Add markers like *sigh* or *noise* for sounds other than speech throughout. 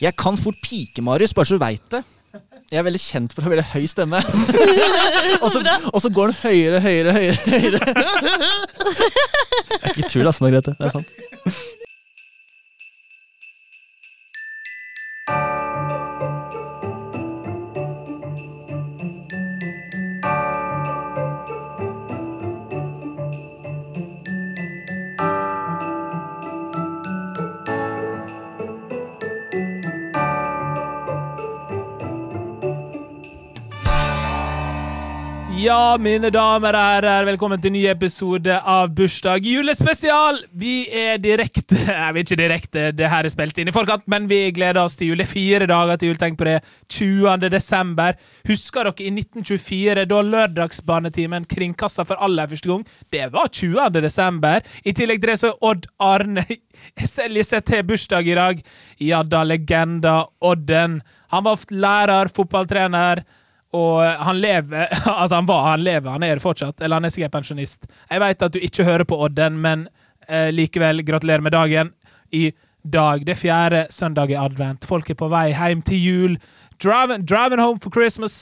Jeg kan fort pike, Marius, bare så du veit det. Jeg er veldig kjent for å ha veldig høy stemme. og, så, og så går den høyere, høyere, høyere. høyere. Ikke tull, altså, Margrethe. Det er sant. Ja, mine damer og herrer, velkommen til en ny episode av Bursdag julespesial! Vi er direkte *laughs* Nei, vi er ikke direkte, det her er spilt inn i forkant, men vi gleder oss til jul. Det er Fire dager til jul, tenk på det. 20. desember. Husker dere i 1924, da lørdagsbanetimen kringkasta for aller første gang? Det var 20. desember. I tillegg til det så er Odd Arne *laughs* Selje seg til bursdag i dag. Ja da, legenda Odden. Han var ofte lærer, fotballtrener. Og han lever *laughs* Altså, han var, han lever, han er det fortsatt. Eller han er sikkert pensjonist. Jeg veit at du ikke hører på Odden, men eh, likevel, gratulerer med dagen. I dag, det fjerde søndag i advent. Folk er på vei hjem til jul. Driving, driving home for Christmas.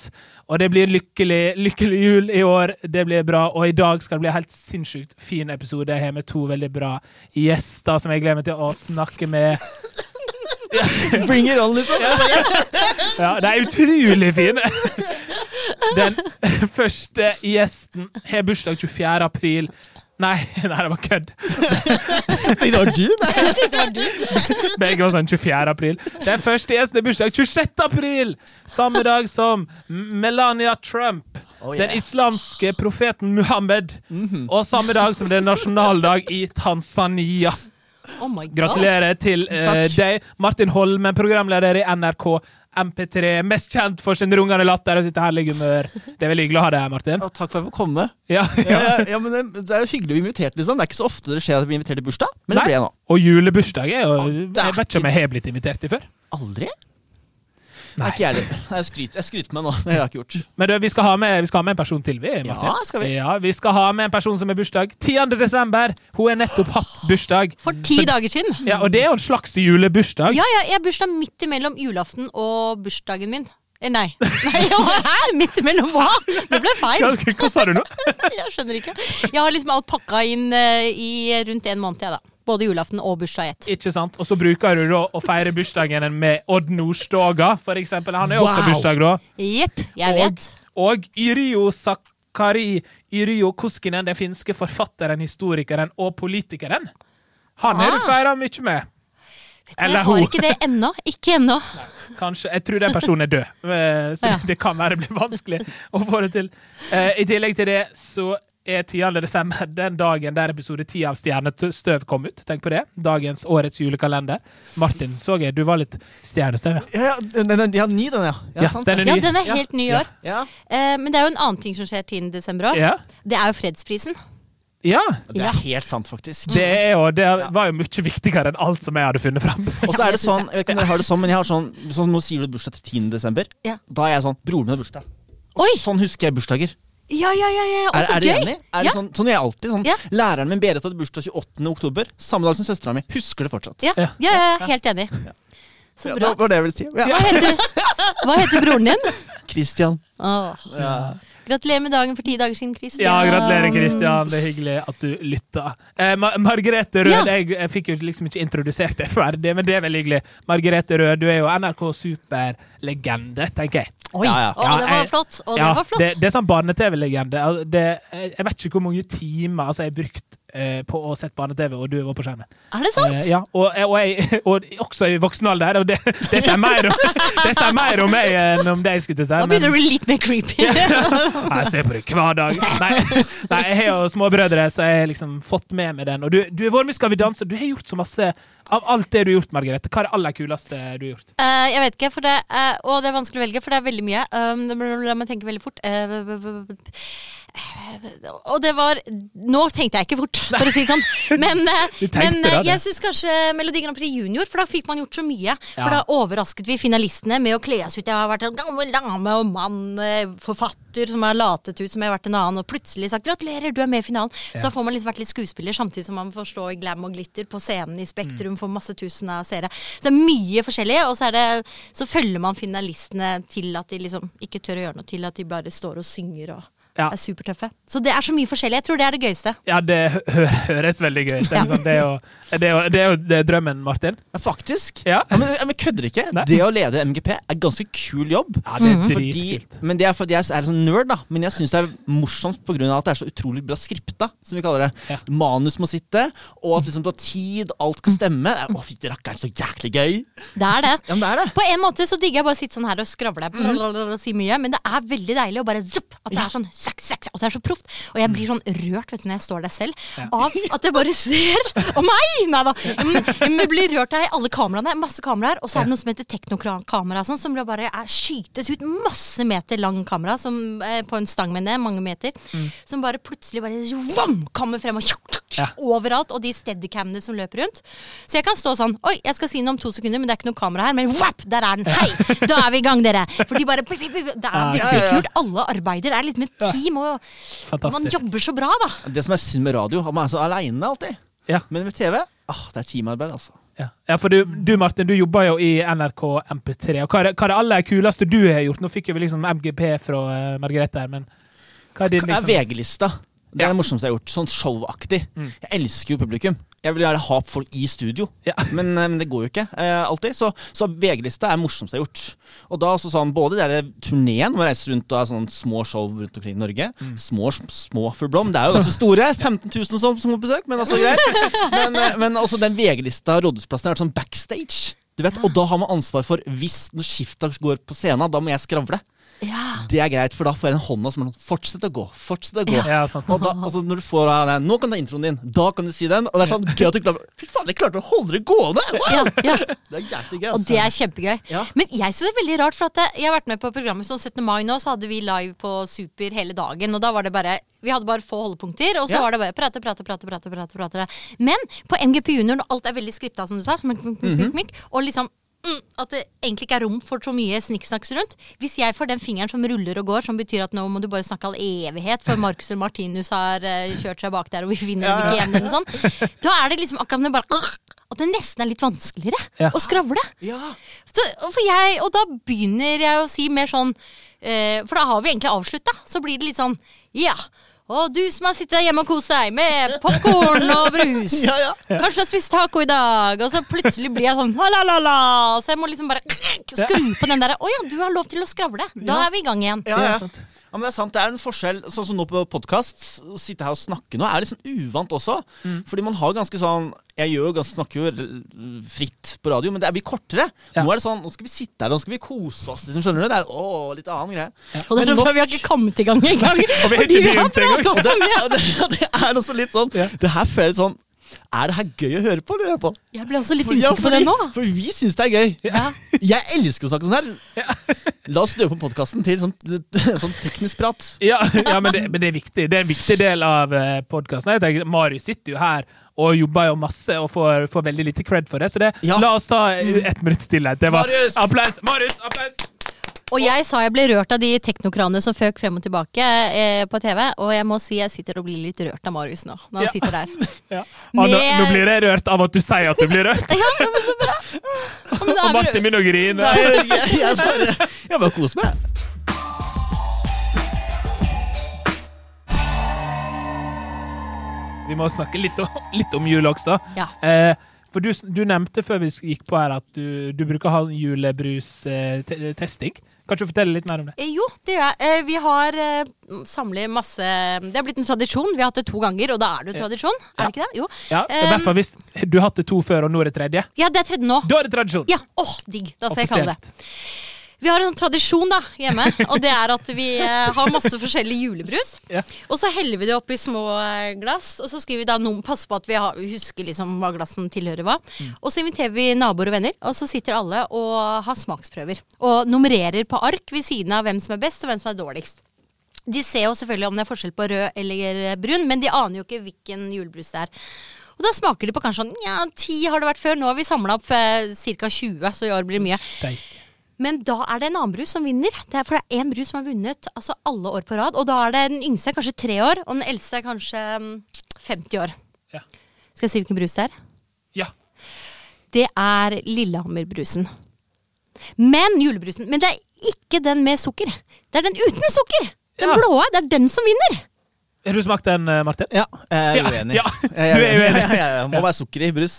Og det blir lykkelig, lykkelig jul i år. Det blir bra. Og i dag skal det bli en helt sinnssykt fin episode. Jeg har med to veldig bra gjester som jeg gleder meg til å snakke med. Bring it on, liksom. Ja, de er utrolig fine. Den første gjesten har bursdag 24. april. Nei, nei, det var kødd. Det var du, det. Begge var sånn 24. april. Den første gjesten har bursdag 26. april! Samme dag som Melania Trump. Oh, Den islamske profeten Muhammed. Og samme dag som det er nasjonaldag i Tanzania. Oh my god. Gratulerer til eh, Takk. deg, Martin Holmen, programleder i NRK MP3. Mest kjent for sin rungende latter og sitt herlige humør. Det er veldig hyggelig å ha deg her, Martin. Å, takk for at jeg fikk komme. Ja, Ja, ja. ja, men det, det er jo hyggelig å bli invitert, liksom. Det er ikke så ofte det skjer at vi blir invitert til bursdag, men Nei. det ble jeg nå. Og julebursdag er jo det er Jeg vet ikke om jeg har blitt invitert til før. Aldri? Nei. Nei. Ikke jeg heller. Nei, Jeg skryter jeg skryter meg nå. *laughs* Det har jeg ikke gjort. Men du, vi skal ha med, vi skal ha med en person til, vi. Martin. Ja, skal vi? Ja, vi skal ha med en person som har bursdag 10. desember. Hun har nettopp hatt bursdag. For ti dager siden. Ja, Og det er jo en slags julebursdag. Ja, ja, jeg har bursdag midt imellom julaften og bursdagen min. Eh, Nei. Nei hæ? Midt imellom hva? Det ble feil. Ganske- Hva sa du nå? *laughs* Jeg skjønner ikke. Jeg har liksom alt pakka inn eh, i rundt en måned, jeg, da. Både julaften og bursdag i ett. Ikke sant? Og så bruker du da å feire bursdagen med Odd Nordstoga, for eksempel. Han er jo også Wow. bursdag da. Jepp, jeg vet. Og Yrjo Sakari Yrjo Koskinen, den finske forfatteren, historikeren og politikeren. Han er du Ah. feira mye med. vet du, Eller jeg har hun. ikke det ennå. Ikke ennå. Kanskje, Jeg tror den personen er død, eh, så Ja. det kan være det blir vanskelig å få det til. Eh, I tillegg til det så er 10. desember den dagen der episode 10 av Stjernestøv kom ut. Tenk på det. Dagens årets julekalender. Martin, så jeg du var litt stjernestøv, ja. Ja, ja, den, den, den- ja, ny den, ja. Ja, sant. den er Ja, ny. den er helt ny i år. Ja. Eh, Men det er jo en annen ting som skjer 10. desember òg. Ja. Det er jo fredsprisen. ja. Det Ja. er helt sant, faktisk. Det, er jo, det var jo mye viktigere enn alt som jeg hadde funnet fram. Og så er det Ja, det sånn, jeg vet ikke om dere har det sånn, men jeg har sånn, sånn nå sier du bursdag til 10. desember. Ja. Da er jeg sånn, broren min har bursdag. Og Oi! sånn husker jeg bursdager. Ja, ja, ja. ja. Og Er, så er du gøy. enig? Er Ja. det sånn, sånn gjør jeg alltid. Sånn, Ja. Læreren min Berit hadde bursdag 28. oktober, samme dag som søstera mi. Husker det fortsatt. Ja, Ja. ja, ja, ja, helt enig. Så Ja, bra. det var det jeg ville si. Ja. Hva heter, hva heter broren din? Christian. Åh. Ja. Gratulerer med dagen for ti dager siden, Christian. Ja, gratulerer, Kristian. Det er hyggelig at du lytta. Eh, Ma Margrethe Rød, Ja. jeg, jeg fikk jo liksom ikke introdusert deg ferdig, men det er veldig hyggelig. Margrethe Rød, du er jo NRK superlegende, tenker jeg. Oi, Ja, ja. Å, Ja, det var jeg- flott. Å, det Ja, var flott. det, det er sånn barne-TV-legende. Al- det- Jeg jeg vet ikke hvor mange timer altså, jeg har brukt eh, på å sette barne-TV, og du var på skjermen. Er det sant? Eh, ja, og, og, jeg, *laughs* og også i voksen alder, og det, det, sier mer om, *laughs* det sier mer om meg enn om deg, skulle jeg si. Da men- begynner det å bli litt mer *laughs* creepy. Nei, Jeg ser på det hver dag. Nei, nei jeg har jo småbrødre, så jeg har liksom fått med meg den. Og du, du har vært med i Skal vi danse. Du har gjort så masse av alt det du har gjort, Margrethe. Hva er det aller kuleste du har gjort? Eh, jeg vet ikke, for det, er- og det er vanskelig å velge, for det er veldig mye. Um, det- la meg tenke veldig fort. Eh, Og det var Nå tenkte jeg ikke fort, for å si det sånn. *laughs* Men, eh, Du tenkte men da, eh, det. jeg syns kanskje Melodi Grand Prix Junior, for da fikk man gjort så mye. For Ja. da overrasket vi finalistene med å kle oss ut. Jeg har vært en gammel dame og mann, eh, forfatter som har latet ut som jeg har vært en annen, og plutselig sagt 'gratulerer, du er med i finalen'. Så da får man liksom vært litt skuespiller, samtidig som man forstår glam og glitter på scenen i Mm. Spektrum for masse tusen av seere. Så det er mye forskjellig, og så, er det, så følger man finalistene til at de liksom ikke tør å gjøre noe, til at de bare står og synger og Ja. er supertøffe. Så det er så mye forskjellig. Jeg tror det er det gøyeste. Ja, det hø- hø- høres veldig gøy ut. Det er liksom- Det er jo det er jo- det er jo det er drømmen, Martin. Ja, faktisk. Ja. Ja, men, ja, men kødder ikke. Nei. Det å lede MGP er ganske kul jobb. Ja, det Mhm. er Fordi, dritkult. men det er fordi jeg er sånn nerd, da. Men jeg syns det er morsomt pga. at det er så utrolig bra skripta, som vi kaller det. Ja. Manus må sitte, og at liksom på tid alt kan stemme. Det er- Å, fytti rakkeren, så jæklig gøy! Det er det. Ja, men det Mm. er det. På en måte så digger jeg bare å sitte sånn her og skravle og si mye, men det er veldig deilig å bare zupp, at det er sånn sak, sak, sak, at det er så proft. Og jeg blir sånn rørt vet du, når jeg står der selv, av at jeg bare ser *laughs* Og meg! Nei da. Men jeg blir rørt av alle kameraene, masse kameraer, og så er det noe som heter teknokamera, sånn, som bare er, skytes ut masse meter lang kamera som, eh, på en stang med ned, mange meter, som bare plutselig bare vam, kommer frem og tjokk, tjokk, Ja. overalt, og de steadycamene som løper rundt. Så jeg kan stå sånn Oi, jeg skal si noe om to sekunder, men det er ikke noe kamera her. Men wap, der er den! Hei! Da er vi i gang, dere! For de bare pip, pip, pip. Det er Ja, ja, veldig ja. kult. Alle arbeider. Det er liksom et team, og man Fantastisk. jobber så bra, da. Det som er synd med radio, at man er så aleine alltid. Ja, Men med TV, ah, det er teamarbeid, altså. ja. ja for du, du Martin, du jobber jo i NRK MP3. Og hva er, det- hva er det aller kuleste du har gjort? Nå fikk jo vi liksom MGP fra eh, Margrethe her, men hva er din Det er liksom Mm. VG-lista. Det er det morsomste jeg har gjort. Sånn showaktig. Jeg elsker jo publikum. Jeg vil gjerne ha folk i studio, Ja. *laughs* men, eh, men det går jo ikke eh, alltid. Så, så VG-lista er det morsomste jeg har gjort. Og da også sånn, Både den turneen hvor jeg reiser rundt og har sånn små show rundt omkring i Norge. Mm. Små, små Full Blom. Det er jo ganske store. *laughs* 15 000 som, som går på besøk, men altså greit. Men, eh, men også den VG-lista, Rådhusplassen, har vært sånn backstage. Du vet, Og da har man ansvar for hvis når skifta går på scenen, da må jeg skravle. Ja. Det er greit, for da får jeg den hånda som er sånn Fortsett å gå, fortsett å gå. Ja, sant. Og da, altså, når du får av den, Nå kan du ha introen din, da kan du si den. Og det er sånn gøy at du klarer Fy faen, jeg klarte å holde det gående! Wow! ja, ja. Det er jævlig gøy. altså. Og det er kjempegøy. Ja. Men jeg synes det er veldig rart, for at jeg har vært med på programmet som 17. mai nå, så hadde vi live på Super hele dagen, og da var det bare vi hadde bare få holdepunkter, og så Ja. var det bare prate, prate, prate. prate, prate, prate. Men på NGP Junior, når alt er veldig skripta, som du sa, mik, mik, mik, Mhm. mik, mik, og liksom mm, at det egentlig ikke er rom for så mye snikksnakks rundt. Hvis jeg får den fingeren som ruller og går, som betyr at nå må du bare snakke all evighet, for Marcus og Martinus har eh, kjørt seg bak der, og vi finner Ja, dem ja. ikke igjen, eller noe sånt, *laughs* da er det liksom akkurat som det bare At det nesten er litt vanskeligere Ja. å skravle. Ja. Så, og for jeg, og da begynner jeg å si mer sånn eh, For da har vi egentlig avslutta. Så blir det litt sånn Ja. Og du som har sittet hjemme og kost deg med popkorn *laughs* og brus. Ja, ja. Kanskje du har spist taco i dag. Og så plutselig blir jeg sånn la-la-la. Så jeg må liksom bare skru på den derre Å ja, du har lov til å skravle. Da Ja. er vi i gang igjen. Ja, Ja, ja. sant. ja, men det er sant. Det er en forskjell. Sånn som nå på podkast, å sitte her og snakke nå er litt sånn uvant også. Fordi man har ganske sånn Jeg gjør jo ganske, snakker jo l- fritt på radio, men det blir kortere. Ja. Nå er det sånn Nå skal vi sitte her, nå skal vi kose oss, liksom. Skjønner du? Det er å, litt annen greie. Og det er Men nå- derfor vi har ikke kommet i gang engang. vi har ikke Fordi vi har begynt engang. pratet *laughs* så mye. Ja, det, ja, det er også litt sånn Ja. Det her føles sånn Er det her gøy å høre på, lurer jeg på? Jeg ble også litt For- ja, usikker på det nå. fordi- For vi syns det er gøy. Ja. Jeg elsker å snakke sånn her. *laughs* La oss døpe podkasten til sånn, *laughs* sånn teknisk prat. Ja, ja men, det, men det er viktig. Det er en viktig del av eh, podkasten. Marius sitter jo her og jobber jo masse og får, får veldig lite cred for det. Så det, Ja. la oss ta eh, ett minutts stillhet. Det var Marius! applaus! Marius, applaus! Og jeg sa jeg ble rørt av de teknokranene som føk frem og tilbake eh, på TV. Og jeg må si jeg sitter og blir litt rørt av Marius nå. Når han Ja. sitter der. *laughs* Ja. Ah, nå, Med- nå blir jeg rørt av at du sier at du blir rørt. Ja, men så bra! *laughs* Ja, men da Og er vi Martin begynner å grine. Nei, jeg, jeg, jeg bare, jeg bare koser meg. Vi må snakke litt om, litt om jul også. rørt. Ja. Eh, for du, s- du nevnte før vi gikk på her at du, du bruker å ha julebrustesting. Kan ikke du fortelle litt mer om det? Eh, Jo, det gjør jeg. Eh, Vi har eh, samler masse Det har blitt en tradisjon. Vi har hatt det to ganger, og da er det jo tradisjon. Er det ikke det? Jo. Eh, Ja, i Um, hvert fall hvis Du har hatt det to før, og nå er det tredje. Ja, det er tredje nå. Da er det tradisjon! Ja, åh, digg. Da skal Altså, jeg kalle det. Offisielt. Vi har en tradisjon da, hjemme, og det er at vi eh, har masse forskjellig julebrus. Ja. Og så heller vi det opp i små eh, glass, og så skriver vi da noen, pass på at vi har, husker liksom hva glassen tilhører hva. Og så inviterer vi naboer og venner, og så sitter alle og har smaksprøver. Og nummererer på ark ved siden av hvem som er best og hvem som er dårligst. De ser jo selvfølgelig om det er forskjell på rød eller brun, men de aner jo ikke hvilken julebrus det er. Og da smaker de på kanskje sånn, ja, ti har det vært før. Nå har vi samla opp eh, ca. 20, så i år blir det mye. Steik. Men da er det en annen brus som vinner. Det er, for det er én brus som har vunnet altså alle år på rad. Og da er det den yngste er kanskje tre år, og den eldste er kanskje mm, 50 år. Ja. Skal jeg si hvilken brus det er? ja. Det er Lillehammerbrusen. Men julebrusen. Men det er ikke den med sukker. Det er den uten sukker! Den Ja. blåe. Det er den som vinner! Har du smakt den, eh, Martin? Ja, jeg er Ja, uenig. ja. Jeg er Du er *laughs* uenig. Ja, ja, ja. Må være sukker i brus.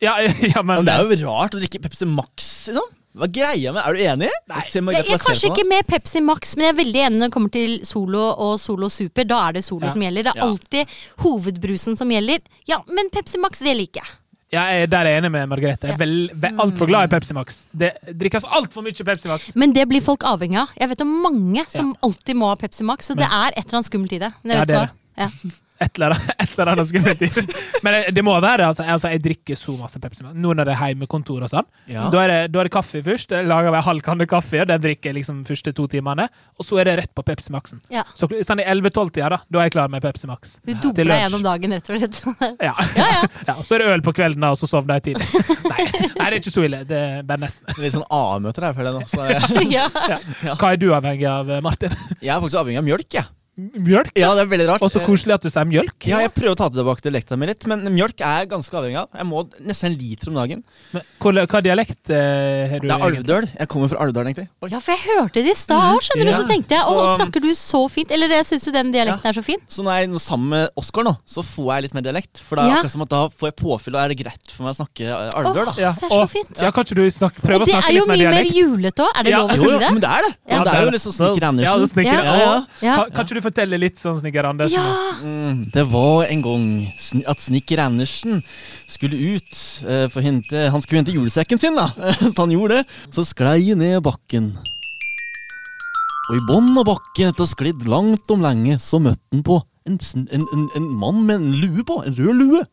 Ja, *laughs* ja men, Men det er jo rart å drikke Pepsi Max, liksom. Hva er greia med Er du enig? Nei. Se om Jeg jeg er kan kanskje plassere på ikke noe. med Pepsi Max, men jeg er veldig enig når det kommer til Solo og Solo Super. Da er det Solo Ja. som gjelder. Det er Ja. alltid hovedbrusen som gjelder. Ja, men Pepsi Max, det liker jeg. Ja, jeg, der er jeg enig med Margrethe. Jeg er vel, Mm. vel, altfor glad i Pepsi Max. Det drikkes altfor mye Pepsi Max. Men det blir folk avhengig av. Jeg vet om mange som alltid må ha Pepsi Max, så det er et eller annet skummelt i det. Men jeg Ja, vet det er ikke hva. Ja. Et eller annet, et eller annet skummelt i det. *laughs* Men det- det må være det. Altså, jeg, altså, jeg drikker så masse Pepsi Max. Nå når det er hjemmekontor og sånn. Ja. Da, er det, da er det kaffe først. Jeg lager meg halv kanne kaffe, og den drikker jeg liksom første to timene. Og så er det rett på Pepsi Maxen. Ja. Så kl- sånn i 11-12-tida, da, da er jeg klar med Pepsi Max. Du Til doper deg lunsj. gjennom dagen, rett og slett. *laughs* Ja. *laughs* Ja, så er det øl på kvelden, da, og så sovner jeg tidlig. Nei, nei, det er ikke så ille. Det er bare nesten. Litt sånn A-møter her, føler jeg nå. Så jeg, ja. Hva er du avhengig av, Martin? jeg er faktisk avhengig av mjølk, jeg. Mjølk? Ja, det er veldig rart. Og så koselig at du sier mjølk. Ja, jeg prøver å ta tilbake dialekta mi litt, men mjølk er jeg ganske avhengig av. Jeg må nesten en liter om dagen. Men Hva, hva dialekt eh, har du? Det er egentlig? Alvdøl. Jeg kommer fra Alvdøl, egentlig. Oi. ja, for jeg hørte det i stad òg, skjønner du. Så Ja. tenkte jeg å, Så- snakker du så fint? Eller jeg syns jo den dialekten Ja. er så fin. Så når jeg er sammen med Oskar nå, så får jeg litt mer dialekt. For det er Ja. akkurat som at da får jeg påfyll, og er det greit for meg å snakke eh, Alvdøl, da. Ja, Det er så og- fint. Ja, kan ikke du snakke, prøve å Og det snakke er jo litt mer mye mer dialekt? julete òg, er det Ja. lov å Jo, si jo, det? men det er det. Ja. Ja, det er jo liksom Snikker Ja, det er Andersen. snikker. Ja, ja. Ja. Kan, kan ikke du fortelle litt sånn Snikker Andersen? Ja, Mm, det var en gang sn- at snekker Andersen skulle ut eh, for å hente Han skulle hente julesekken sin, da. *laughs* Så han gjorde det. Så sklei han ned bakken. Og i bånn av bakken, etter å ha sklidd langt om lenge, så møtte han på en, sn- en, en, en mann med en lue på. En rød lue.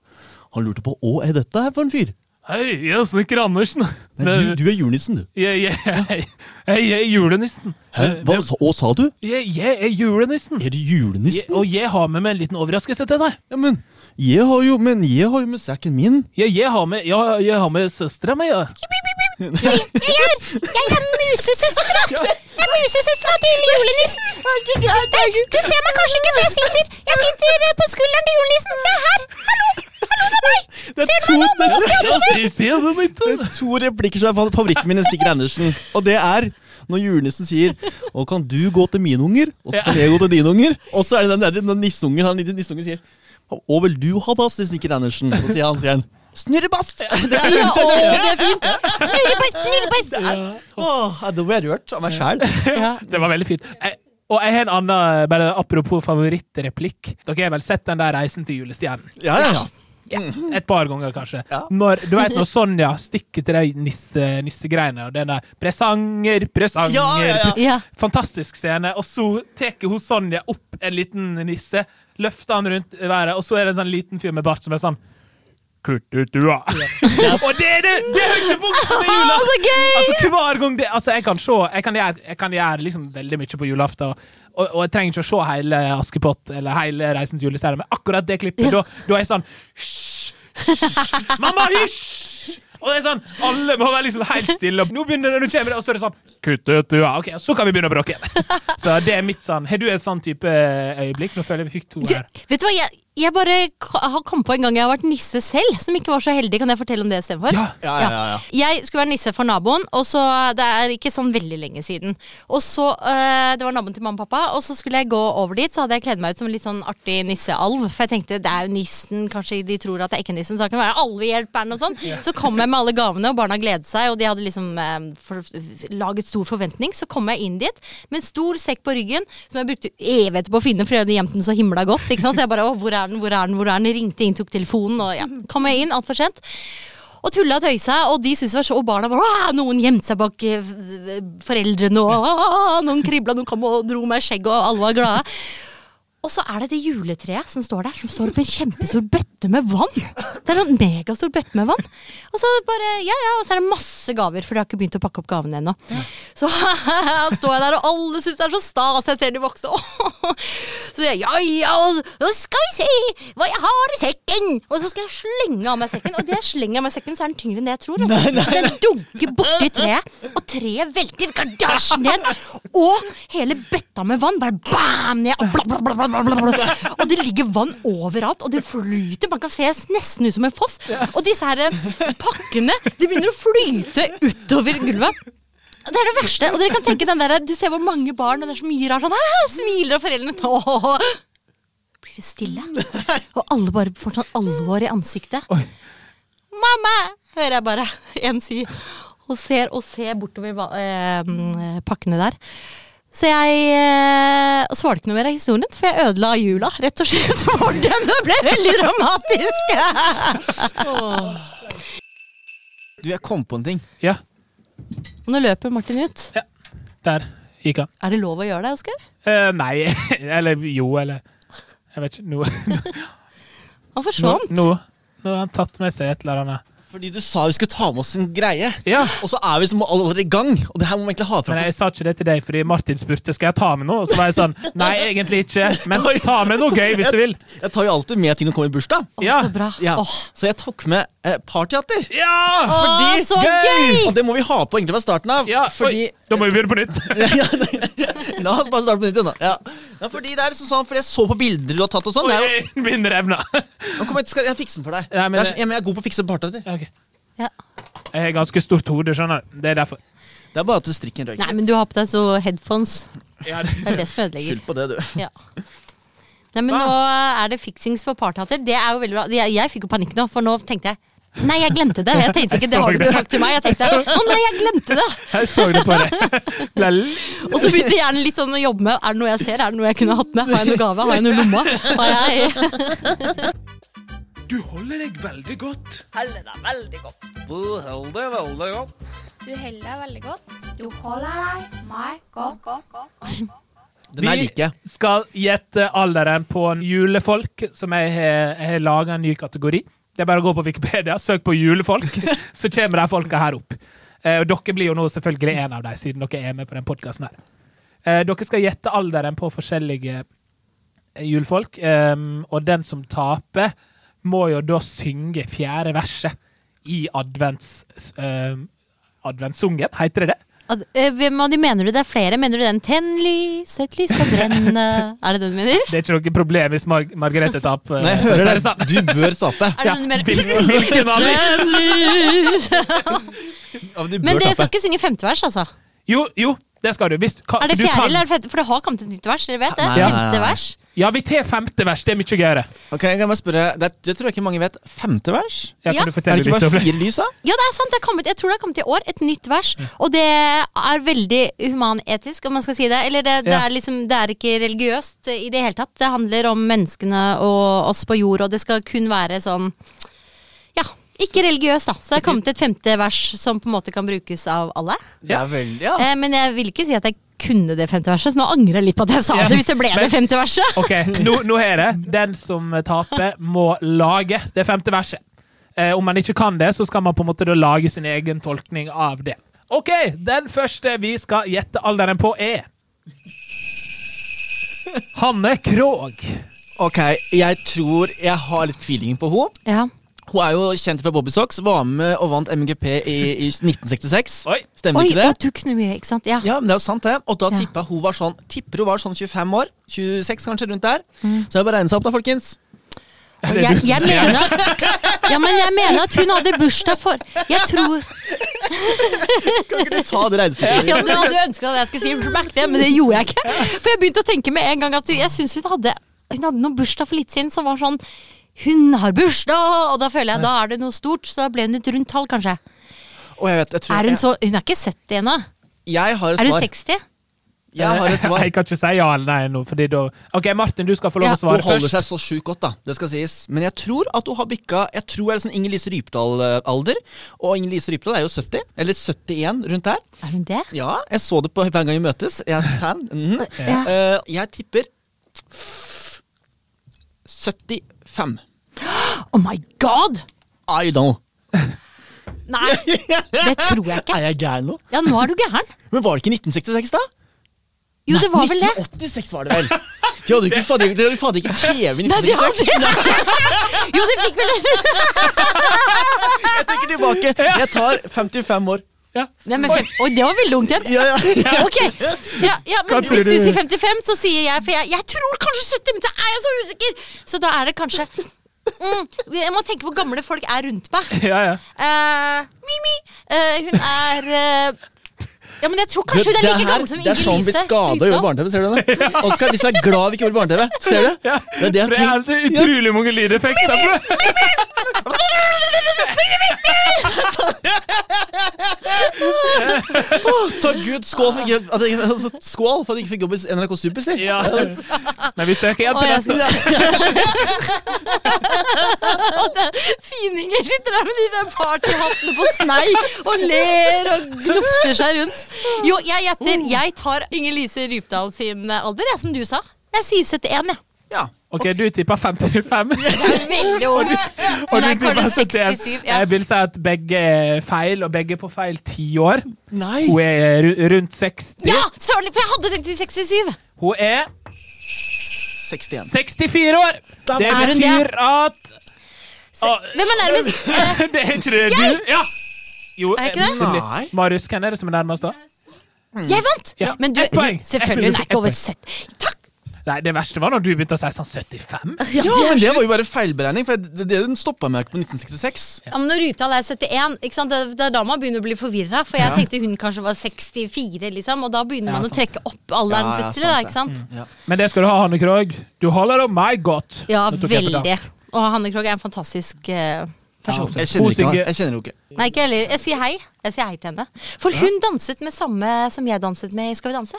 Han lurte på hva er dette her for en fyr. Hei, jeg er Snikker Andersen. Nei, du, du er julenissen, du. Jeg, jeg, jeg, jeg er julenissen. Hæ? Hva, sa- hva sa du? Jeg, jeg er julenissen. Er du julenissen? Jeg, og jeg har med meg en liten overraskelse til deg. Ja, men jeg har jo Men jeg har jo med sekken min. Jeg, jeg har med, jeg, jeg har med søstera mi. Ja. jeg gjør! Jeg er musesøstera! Jeg er musesøstera til julenissen! Du ser meg kanskje ikke, for jeg sitter, jeg sitter eh, på skulderen til julenissen. Det er her! Hallo! Hallo, det er meg! Det er to, det er, Ja, se- se det, mitt. Det er to replikker som er fa- favoritten min i Sigrid Andersen. Og det er når julenissen sier Å, kan du gå til mine unger, og så kan jeg gå til dine unger. Og så er det den der når nisseungen, han lille nisseungen sier Å, vil du ha dass til Snikker Andersen? Så sier han, sier han Snurrebass! *laughs* Det er Ja, å, ute! det er fint! Snurrebass, snurrebass! Åh, da ble jeg rørt av meg sjæl. Ja. *laughs* Det var veldig fint. Jeg, og jeg har en annen, eh, bare apropos favorittreplikk. Dere har vel sett den der Reisen til julestjernen? Ja, ja, ja. Et par ganger, kanskje. Mm. Ja. Når, du vet når Sonja stikker til de nisse, nissegreiene, og den der 'presanger, presanger' Ja, ja, ja. Ja. Fantastisk scene. Og så tar hun Sonja opp en liten nisse, løfter han rundt i været, og så er det en sånn liten fyr med bart som er sånn Kuttutua. *laughs* og det er det! Det er høydepunktet *laughs* med jula! Å, så gøy! Altså, hver gang det, altså, jeg kan se Jeg kan gjøre, jeg kan gjøre liksom veldig mye på julaften. Og, og jeg trenger ikke å se hele Askepott eller hele Reisen til julestjernen, men akkurat det klippet, da, da er jeg sånn Hysj! hysj, Mamma, hysj! Og det er sånn, Alle må være liksom helt stille. Og nå begynner det, nå kommer det, og så er det sånn Kutt ut, du, ja, ok, og Så kan vi begynne å bråke igjen. Så det er mitt sånn Har du et sånn type øyeblikk? Nå føler jeg vi fikk to Du, her. vet du hva, jeg, jeg bare k- har kommet på en gang jeg har vært nisse selv, som ikke var så heldig. Kan jeg fortelle om det istedenfor? Ja. Ja, ja, ja, ja. Jeg skulle være nisse for naboen, og så det er ikke sånn veldig lenge siden. Og så, eh, Det var naboen til mamma og pappa, og så skulle jeg gå over dit. Så hadde jeg kledd meg ut som en litt sånn artig nissealv. For jeg tenkte det er jo nissen, kanskje de tror at jeg ikke er nissen. Så kan det være alvehjelperen og sånn. Så kom jeg med alle gavene, og barna gledet seg, og de hadde liksom eh, for, laget stor forventning. Så kom jeg inn dit med en stor sekk på ryggen som jeg brukte evigheter på å finne, for jeg hadde gjemt den så himla godt. Ikke sant? Så jeg bare å, hvor er den, hvor er den, hvor er den? Ringte, inntok telefonen, og ja. Kom jeg inn altfor sent. Og tulla og tøysa, og de syntes det var så Og barna bare «Åh, Noen gjemte seg bak eh, f- foreldrene, og «Åh», noen kribla, noen kom og dro meg i skjegget, og alle var glade. Og så er det det juletreet som står der, som står oppi en sånn kjempestor bøtte med vann. Det er en megastor bøtte med vann. Og så bare, ja ja, og så er det masse masse gaver, for de har ikke begynt å pakke opp gavene ennå. Så *laughs* står jeg der, og alle syns det er så stas. Jeg ser de voksne. *laughs* Så sier jeg ja, ja, og nå skal vi se hva jeg har i sekken! Og så skal jeg slenge av meg sekken, og det jeg slenger av meg sekken, så er den tyngre enn det jeg tror. vet du. Så den dunker borti treet, og treet velter gardasjen ned, og hele bøtta med vann bare bam ned, og bla, bla, bla, bla, bla, bla, bla. Og det ligger vann overalt, og det flyter. Man kan se nesten ut som en foss. Og disse her eh, pakkene, de begynner å flyte utover gulvet. Det er det verste. Og dere kan tenke den der, Du ser hvor mange barn og det er så mye rart sånn, «Æ», smiler, og foreldrene «Åh». Blir det stille? Og alle bare får sånn alvor i ansiktet. Oi. Mamma! hører jeg bare en si. Og ser, og ser bortover hva- eh, pakkene der. Så jeg eh, og så var det ikke noe mer av historien, for jeg ødela jula, rett og slett. *laughs* For den det ble veldig dramatisk! Du, jeg kom på en ting. Ja, *laughs* Nå løper Martin ut. der gikk han. Er det lov å gjøre det, Oskar? Eh, nei, *laughs* eller jo, eller Jeg vet ikke. Nå Han Nå, forsvant. nå, nå har han tatt med seg et eller annet. Fordi du sa vi skulle ta med oss en greie. Ja, Og så er vi som allerede i gang. Og det her må vi egentlig ha fra Men jeg oss. sa ikke det til deg fordi Martin spurte skal jeg ta med noe. Og så var jeg sånn Nei, egentlig ikke, *laughs* men ta med noe gøy hvis du vil. Jeg tar jo alltid med ting som kommer i bursdag. Å, Ja. så bra. Ja. Åh. Så jeg tok med eh, parteater. Ja! fordi- Å, så Gøy! gøy! Og det må vi ha på egentlig fra starten av. ja fordi *laughs* oi, da må vi begynne på nytt. *laughs* ja, nei, La oss bare starte på nytt igjen, da. Ja. Ja, fordi det er liksom sånn, fordi jeg så på bilder du har tatt og sånn. Oi, det er jo- *laughs* Min revna. Nå kommer jeg, skal jeg fikse den for deg. Ja, Det er men det- så- ja, men jeg er god på å fikse parteater. Ok. Ja. Jeg har ganske stort hode, skjønner du. Det er derfor. Det er bare at strikken røyker. Nei, men du har på deg så headphones. Ja, Det er det som ødelegger. Skyld på det, du. Ja. Nei, men Sånn. nå er det fiksings på partyhatter. Det er jo veldig bra. Jeg, jeg fikk jo panikk nå, for nå tenkte jeg Nei, jeg glemte det. Jeg tenkte ikke, Det har du ikke sagt til meg. Jeg tenkte, Å nei, jeg glemte det! *laughs* jeg så det på deg. *laughs* Ble litt- Og så begynte hjernen litt sånn å jobbe med Er det noe jeg ser? Er det noe jeg kunne hatt med? Har jeg noe gave? Har jeg noe i lomma? Har jeg Du holder deg veldig godt. Heller deg veldig godt. Du holder deg veldig godt. Du holder deg meg godt. Den her Vi- liker jeg. Skal gjette alderen på en julefolk, som jeg har- jeg har laga en ny kategori. Det er bare å gå på Wikipedia, søk på julefolk, *laughs* så kommer de folka her opp. Eh, Og dere blir jo nå selvfølgelig en av dem, siden dere er med på den podkasten her. Eh, Dere skal gjette alderen på forskjellige eh, julefolk, em, og den som taper, må jo da synge fjerde verset i advents... em, Adventssungen, heter det det? Ad- eh, Hvem av de mener du? Det er flere. Mener du den 'Tenn lys, et lys skal brenne'? Er det den du mener? Det er ikke noe problem hvis Mar Margrethe taper. Nei, jeg eh, det er hører sant. deg. Du bør tape. Er det den du Hvilken- mener? hvilken av de? Tenn lys Ja, men du Men bør dere skal tape. ikke synge femte vers, altså? Jo, jo, det skal du. Hvis, du kan, Er det du fjerde kan- eller er det femte? For det har kommet et nytt vers. Dere vet det? Nei, nei, nei, Femte nei. vers. Ja, vi tar femte vers. Det er mye gøyere. Ok, jeg kan bare spørre. Det, er- det tror jeg ikke mange vet. Femte vers? Ja, kan Ja. du Er fortelle det ikke litt bare om det? fire lys, da? Ja, det er sant. Det er kommet, jeg tror det har kommet i år. Et nytt vers. Og det er veldig humanetisk, om man skal si det. Eller det, det, Ja. er liksom, det er ikke religiøst i det hele tatt. Det handler om menneskene og oss på jord, og det skal kun være sånn Ja, ikke religiøst, da. Så det er kommet et femte vers som på en måte kan brukes av alle. Det er veldig, ja. Eh, men jeg vil ikke si at jeg kunne det femte verset, så nå angrer jeg litt på at jeg sa Ja. det hvis det ble Men- det femte verset. Ok, nå, nå er det. Den som *laughs* taper, må lage det femte verset. Eh, om man ikke kan det, så skal man på en måte da lage sin egen tolkning av det. Ok, Den første vi skal gjette alderen på, er Hanne Krogh. Ok, jeg tror jeg har litt feeling på henne. Ja. Hun er jo kjent fra Bobby Socks, var med og vant MGP i, i 1966. Oi. Stemmer Oi, ikke det? å, du kunne mye, ikke sant? Ja. Ja, men det er jo sant det. Og da Ja. tippa hun var sånn Tipper hun var sånn 25 år. 26 kanskje, rundt der. Mm. Så jeg bare regnet seg opp da, folkens. Er det Jeg, du som jeg sier det? mener at, ja, men jeg mener at hun hadde bursdag for Jeg tror Kan ikke du ta det regnestykket? *laughs* ja, Du hadde ønska at jeg skulle si back det, men det gjorde jeg ikke. For jeg begynte å tenke med en gang at jeg syns hun hadde Hun hadde noe bursdag for litt siden som var sånn Hun har bursdag! Og da føler jeg da er det noe stort. Så da ble hun et rundt tall, kanskje. Og jeg vet, jeg tror Er hun så Hun er ikke 70 ennå. jeg, jeg har et Er hun svar. 60? Jeg *laughs* har et svar. Jeg kan ikke si ja eller nei nå. Fordi da... Ok, Martin, du skal få lov Ja. å svare Hun holder først. seg så sjukt godt, da. Det skal sies. Men jeg tror at hun har bikka Jeg tror jeg er sånn Inger Lise Rypdal-alder. Og Inger Lise Rypdal er jo 70. Eller 71, rundt der. Er hun det? Ja, jeg så det på hver gang vi møtes. Jeg er *laughs* fan. Mhm. Eh, jeg tipper 75. Oh my god! I don't know. Nei, det tror jeg ikke. *laughs* Er jeg gæren nå? Ja, nå er du gæren. Men var det ikke 1966, da? Jo, det var vel det. 1986 var det vel. De hadde jo ikke, fader, de hadde fader *laughs* ikke TV i Nei, de 1966. *laughs* Jo, det fikk vel det. Jeg trekker tilbake. Jeg tar 55 år. Hvem er fem? Oi, det var veldig ungt igjen. Ja, ja. Ok, ja, ja, men Hva tror Hvis du du? sier 55, så sier jeg For jeg, jeg tror kanskje 70, men så er jeg så usikker! Så da er det kanskje mm, Jeg må tenke hvor gamle folk er rundt meg. *laughs* Ja, ja. Eh, Mimi, eh, hun er eh, Ja, men jeg tror kanskje hun er Det like her- gammel som Det er Inger sånn vi Lise. skada gjorde barne-TV. Ser du det? Oskar, hvis jeg er glad vi ikke gjorde barne-TV. Ser du? Ja. Det er det jeg For det tenker. er det utrolig mange lydeffekter. på det. Takk Gud, skål for, ikke, at jeg, altså, skål for at jeg ikke fikk jobb i NRK Super, si. Ja. *laughs* Men vi søker hjelp Å, til jeg neste. *laughs* Fininger sitter der med de der partyhattene på snei og ler og glufser seg rundt. Jo, jeg gjetter. Jeg tar Inger Lise Rypdal sin alder, jeg, som du sa. Jeg sier 71, jeg. Ja. Ok, du tippa *laughs* 55. Det er veldig ordentlig. Og Nei, tipper Karl er 71. 67, ja. Jeg vil si at begge er feil, og begge er på feil tiår. Nei. Hun er ru- rundt 60. Ja, søren, for jeg hadde tenkt til 67. Hun er 61. 64 år! Da Det er hun det? betyr at *laughs* Se, Ah, Hvem er nærmest? Eh, Det er ikke det du Ja! Jo, Er jeg ikke det? eh, Nei. Marius, hvem er det som er nærmest, da? Jeg vant! Ja, Men du, ett poeng. selvfølgelig, hun er ikke over 70. Takk! Nei, Det verste var når du begynte å si sånn 75. Ja, Ja, men det var jo bare feilberegning, for det, det den stoppa meg ikke på 1966. Ja, men Når Rypdal er 71, ikke sant? Det, det er da man begynner å bli forvirra. For jeg Ja. tenkte hun kanskje var 64, liksom, og da begynner Ja, man å sant. trekke opp alderen Ja, ja, plutselig. da, sant ikke Mm. sant? Men det skal du ha, Hanne Krogh. Du holder om meg godt. Ja, Nå tok jeg på veldig. dansk. Og Hanne Krogh er en fantastisk eh, person. Ja, Jeg kjenner ikke henne. Hun synger- Jeg kjenner henne ikke. Nei, ikke heller. Jeg sier hei. Jeg sier hei til henne. For hun danset med samme som jeg danset med i Skal vi danse.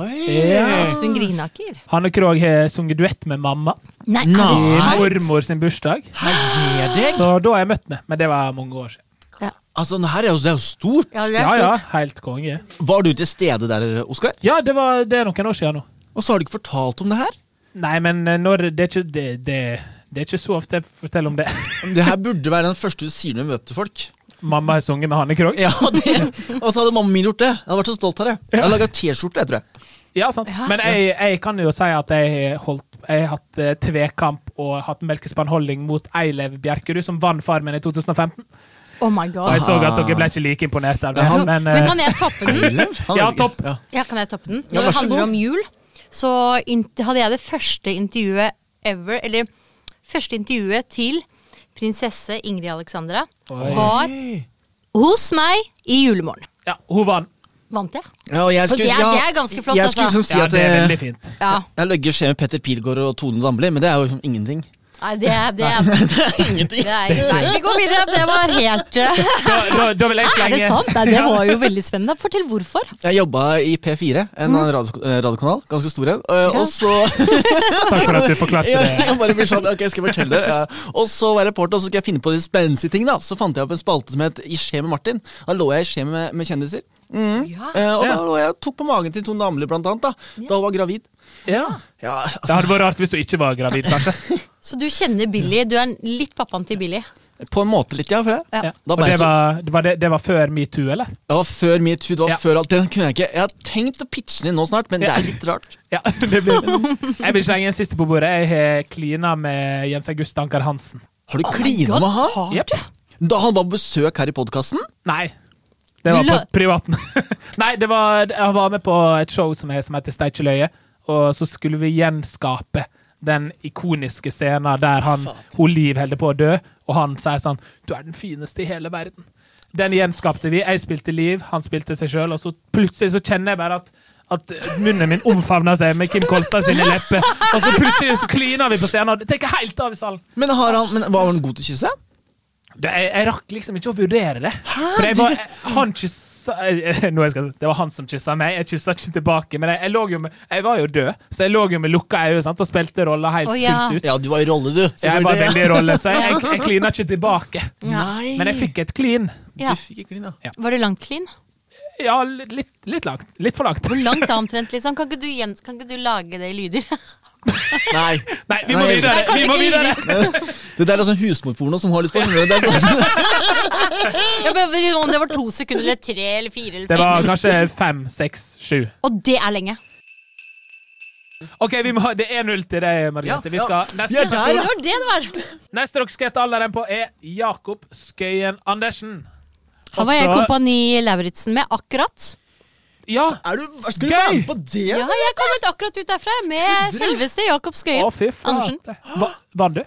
Oi! Espen Grinaker. Hanne Krogh har sunget duett med mamma Nei, Nei. er det i Sant. sant? mormor sin bursdag. Her gir deg! Så da har jeg møtt henne, men det var mange år siden. Altså, det her er jo, det er jo stort. Ja, det er Ja, stort. ja, helt konge. Var du til stede der, Oskar? Ja, det, var, det er noen år siden nå. Og så har du ikke fortalt om det her? Nei, men eh, når Det er ikke, det, det, det er ikke så ofte jeg forteller om det. *laughs* Det her burde være den første du sier når du møter folk. Mamma har sunget med Hanne Krogh. Ja, det. Og så hadde mamma min gjort det. Jeg hadde vært så stolt av det. Jeg hadde laga T-skjorte, jeg tror jeg. Ja, sant. Men jeg, jeg kan jo si at jeg har holdt, jeg har hatt eh, tvekamp og hatt melkespannholding mot Eilev Bjerkerud, som vant Farmen i 2015. Oh my Og jeg god. så at dere ble ikke like imponert av det. Ja, Men, Men eh, kan jeg toppe den? Han Ja, hadde- topp. Ja, kan jeg toppe den? Ja, Når vær det så handler god. om jul, så int- hadde jeg det første intervjuet ever, eller første intervjuet til prinsesse Ingrid Alexandra, Oi. var hos meg i julemorgen. eh, ja, hun vant. Vant jeg? Ja, og jeg For skulle, det er- ja, det er ganske flott, Jeg skulle altså. liksom si Ja, at det er eh, veldig fint. Ja. jeg løgger skje med Petter Pilgaard og Tone Damli, men det er jo liksom ingenting. Nei, det er, det er, Ingenting. det er Nei, vi går videre. Det var helt eh, Da, da, da vil jeg *laughs* Er det slenge sant? Nei, det var jo veldig spennende. Fortell hvorfor. Jeg jobba i P4, en Mhm. radio, eh, radiokanal, ganske stor en, eh, og så Takk for at du forklarte *laughs* Ja, det. jeg bare blir sånn, ok, skal jeg fortelle det? Ja. Og så var jeg reporter, og så skulle jeg finne på de spenstige ting da. Så fant jeg opp en spalte som het I skje med Martin. Da lå jeg i skje med, med kjendiser. Mm. Ja. Eh, og da Ja. lå jeg og tok på magen til Tone Damli, blant annet, da, da hun var gravid. Ja. Ja, Det altså, hadde vært rart hvis du ikke var gravid, kanskje. Så du kjenner Billy. Du er litt pappaen til Billy. på en måte litt, ja. For det. Ja. Ja. Da Og ble jeg det så- var, det var, det, det var før metoo, eller? det var før metoo, det var Ja. før alt. Den kunne jeg ikke. Jeg har tenkt å pitche den inn nå snart, men det Ja. er litt rart. Ja, *laughs* det blir Jeg vil slenge en siste på bordet. Jeg har klina med Jens August Anker Hansen. Har du Oh my klina God. med han? Jep. Da han var på besøk her i podkasten? Nei. Det Du var på lø- privaten. *laughs* Nei, det var, jeg var med på et show som, er, som heter Steikjeløye, og så skulle vi gjenskape den ikoniske scenen der han, hun Liv holder på å dø, og han sier sånn Du er den fineste i hele verden. Den gjenskapte vi. Jeg spilte Liv, han spilte seg sjøl, og så plutselig så kjenner jeg bare at at munnen min omfavner seg med Kim Kolstad sine lepper. Og så plutselig så kliner vi på scenen, og det tar helt av i salen. Men, har han, men var han god til å kysse? Det, jeg, jeg rakk liksom ikke å vurdere det. For jeg var, jeg, han kyssa eh, nå jeg skal, Det var han som kyssa meg. Jeg kyssa ikke tilbake. Men jeg, jeg, lå jo med, jeg var jo død, så jeg lå jo med lukka øyne sant, og spilte rolla helt Å, ja. fullt ut. Ja, du var i rolle, du. Jeg var Selvfølgelig, veldig i rolle, så jeg, jeg, jeg klina ikke tilbake. ja. Ja. Nei. Men jeg fikk et klin. Du Ja. fikk ikke klin, ja. Var det langt clean? Ja, litt, litt langt. Litt for langt. Langt da omtrent, liksom. Kan ikke du, Jens, kan ikke du lage det i lyder? *laughs* Nei. Nei, vi må Nei. videre! Jeg kan Vi må ikke videre. Det der er sånn husmorporno som har lyst på. skjønner du? Det er sånn- Jeg bare- Om det var to sekunder eller tre eller fire eller Det fem. var kanskje fem, seks, sju. Og det er lenge. OK, vi må, ha- det er null til deg, Margrethe. Vi Ja, ja. skal Vi neste er der, Det ja. var det det var. Neste dere skal gjette alderen på, er Jakob Skøyen Andersen. Han var jeg i Også- Kompani Lauritzen med akkurat. Ja! Er du, skal du Gøy! være med på det? Ja, jeg kommet akkurat ut derfra med selveste Jakob Å, Skøyen. fy faen. Andersen. Hva- Vant du?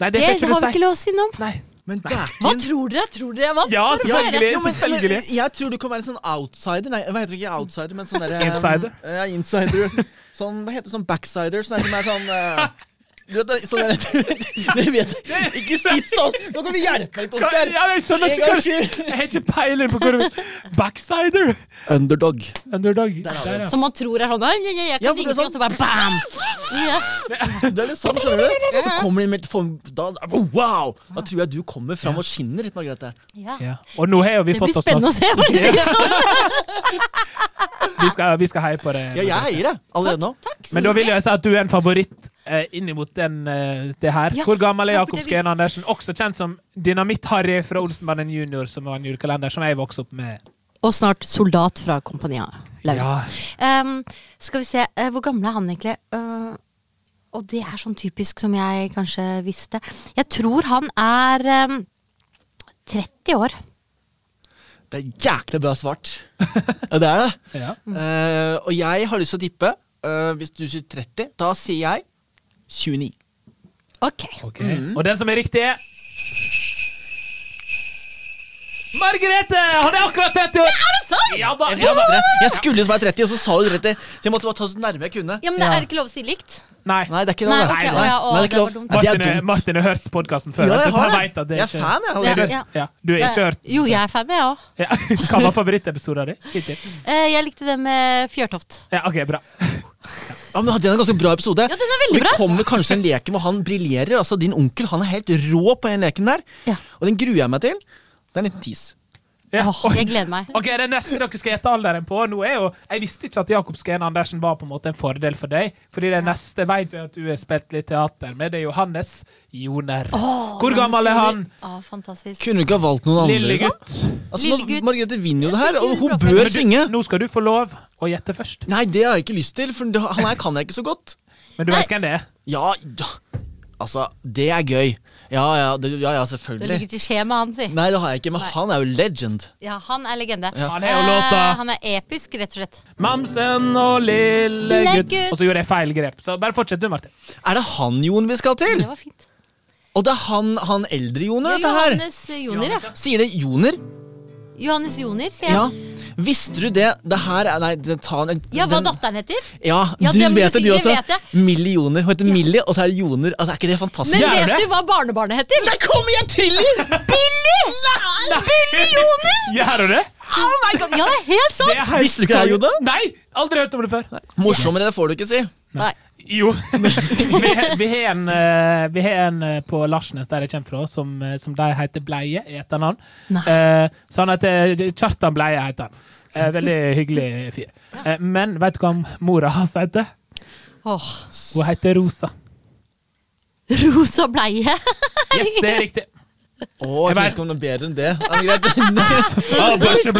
Nei, det Det får ikke har vi du ikke si. lov å si noe om. Nei. Men Hva dæken tror dere? Tror dere jeg vant? Ja, Bare feire. selvfølgelig. Jo, men- Selvfølgelig. men Jeg tror du kan være en sånn outsider. Nei, hva heter det ikke outsider, men sånn derre *laughs* Insider. Ja, insider. Sånn, hva heter det, sånn backsider? Sånn der som er sånn eh, du vet, det- sånn der, *laughs* dere vet, Ikke sitt sånn! Nå kan vi hjelpe deg, Hva- Oskar! Ja, jeg skjønner En ikke gang hva skyld! Jeg har ikke peiling på hva du Backsider! Underdog. Underdog. Der har vi Der, ja. Som man tror er sånn «Nei, Jeg, jeg, jeg Ja, for kan det er ingenting, og så bare bam! Ja. Det er litt sånn, skjønner du? Så kommer de med form- da, Wow! Da tror jeg du kommer fram og skinner, Margrethe. Ja. Ja. Og nå har jo vi Det fått blir oss noe. spennende å se. for å si det sånn. Vi skal, vi skal heie på det. Ja, jeg heier det allerede nå. Takk. Men da vil jeg si at du er en favoritt eh, innimot den, eh, det her. Ja, Hvor gammel er for Jakob det vi- Skien Andersen? Også kjent som Dynamitt-Harry fra Olsenbanden junior, som var en julekalender som jeg vokste opp med. Og snart soldat fra Kompani Lauritzen. Ja. Ehm, skal vi se, eh, hvor gammel er han egentlig? Eh, og det er sånn typisk som jeg kanskje visste. Jeg tror han er ehm, 30 år. Det er jæklig bra svart. Ja, det er det. Ja. Eh, og jeg har lyst til å tippe. eh, hvis du sier 30, da sier jeg 29. Ok. Ok. Og den som er riktig, er Margrethe! Han er akkurat 30 år! Er det sant?! Ja da! Jeg, Ja, visste da. det. jeg skulle som er 30, og så sa du 30. Så jeg måtte bare ta så nærme jeg kunne. Ja, men det Ja. er ikke lov å si likt. Nei. Nei, det er ikke Nei, lov. det. ok, Nei, å ja, å, nei, det er det ikke var lov. dumt. Nei, det er Martin, er- dumt. Martin har hørt podkasten før. Ja, vet du, jeg så har han det. vet at det Jeg er ikke- fan, jeg. Ja, allerede. du- Ja. Ja, du er ikke hørt. Eh, Jo, jeg er fan, jeg òg. Ja. Hva var favorittepisoden din? Hittil? jeg likte det med Fjørtoft. Ja, OK, bra. Ja, men Den er en ganske bra episode. Ja, den er veldig bra. Det kommer kanskje en leken hvor han briljerer. Altså, Din onkel han er helt rå på den leken der. Ja. Og den gruer jeg meg til. Det er en liten tis. Ja. Åh, jeg gleder meg. Ok, Det neste dere skal gjette alderen på nå er jo, Jeg visste ikke at Jakob Skien Andersen var på en måte en fordel for deg. Fordi det neste vet vi at du har spilt litt teater med. Det er Johannes Joner. Hvor gammel er han? Å, fantastisk. Kunne du ikke ha valgt noen andre? Lille liksom? gutt. Altså, Lille nå- gutt. Margrethe vinner jo det her, Ja, og hun det er bør Men du, synge. nå skal du få lov å gjette først. Nei, det har jeg ikke lyst til, for det- han her kan jeg ikke så godt. Men du Nei. vet hvem det er? Ja, ja. altså, det er gøy. Ja ja, det, ja, ja Det selvfølgelig. ligger til skje med han, si. Nei, det har jeg ikke, men han er jo legend. Ja, han er legende. Ja. Han har jo låta Eh, han er episk, rett og slett. Mamsen og lille Lille gutt. gutt. Og så gjorde jeg feil grep. Så bare fortsett du, Martin. Er det han Jon vi skal til? Det var fint. Og det er han, han eldre Joner, dette her. Johannes Joner, ja. Sier det Joner? Johannes Joner, sier Ja. jeg. Visste du det? Det her er Nei, det, ta en Ja, hva den- datteren heter? Ja, Ja, du det må du vet det, si, du det også. vet jeg. Millie Joner. Hun heter Millie, og så er det Joner. Altså, Er ikke det fantastisk? Men Sier vet det? du hva barnebarnet heter? Det kommer jeg til! Billy! Billy Joner! Gjør du det? Oh my god! Ja, det er helt sant! Det er *laughs* helt Visste du ikke det, Joda? Nei! Aldri hørt om det før. Morsommere det får du ikke si. Nei. Jo. *laughs* vi, vi har en, eh, vi har en eh, på Larsnes, der jeg kommer fra, som, eh, som de heter Bleie i etternavn. Nei. Eh, så han heter Kjartan Bleie, heter han. Eh, veldig hyggelig fyr. Eh, men vet du hva mora hans heter? Åh. Hun heter Rosa. Rosa bleie. Yes, det er riktig. Å, Jeg jeg bare- tror ikke om det er bedre enn det. Er det greit?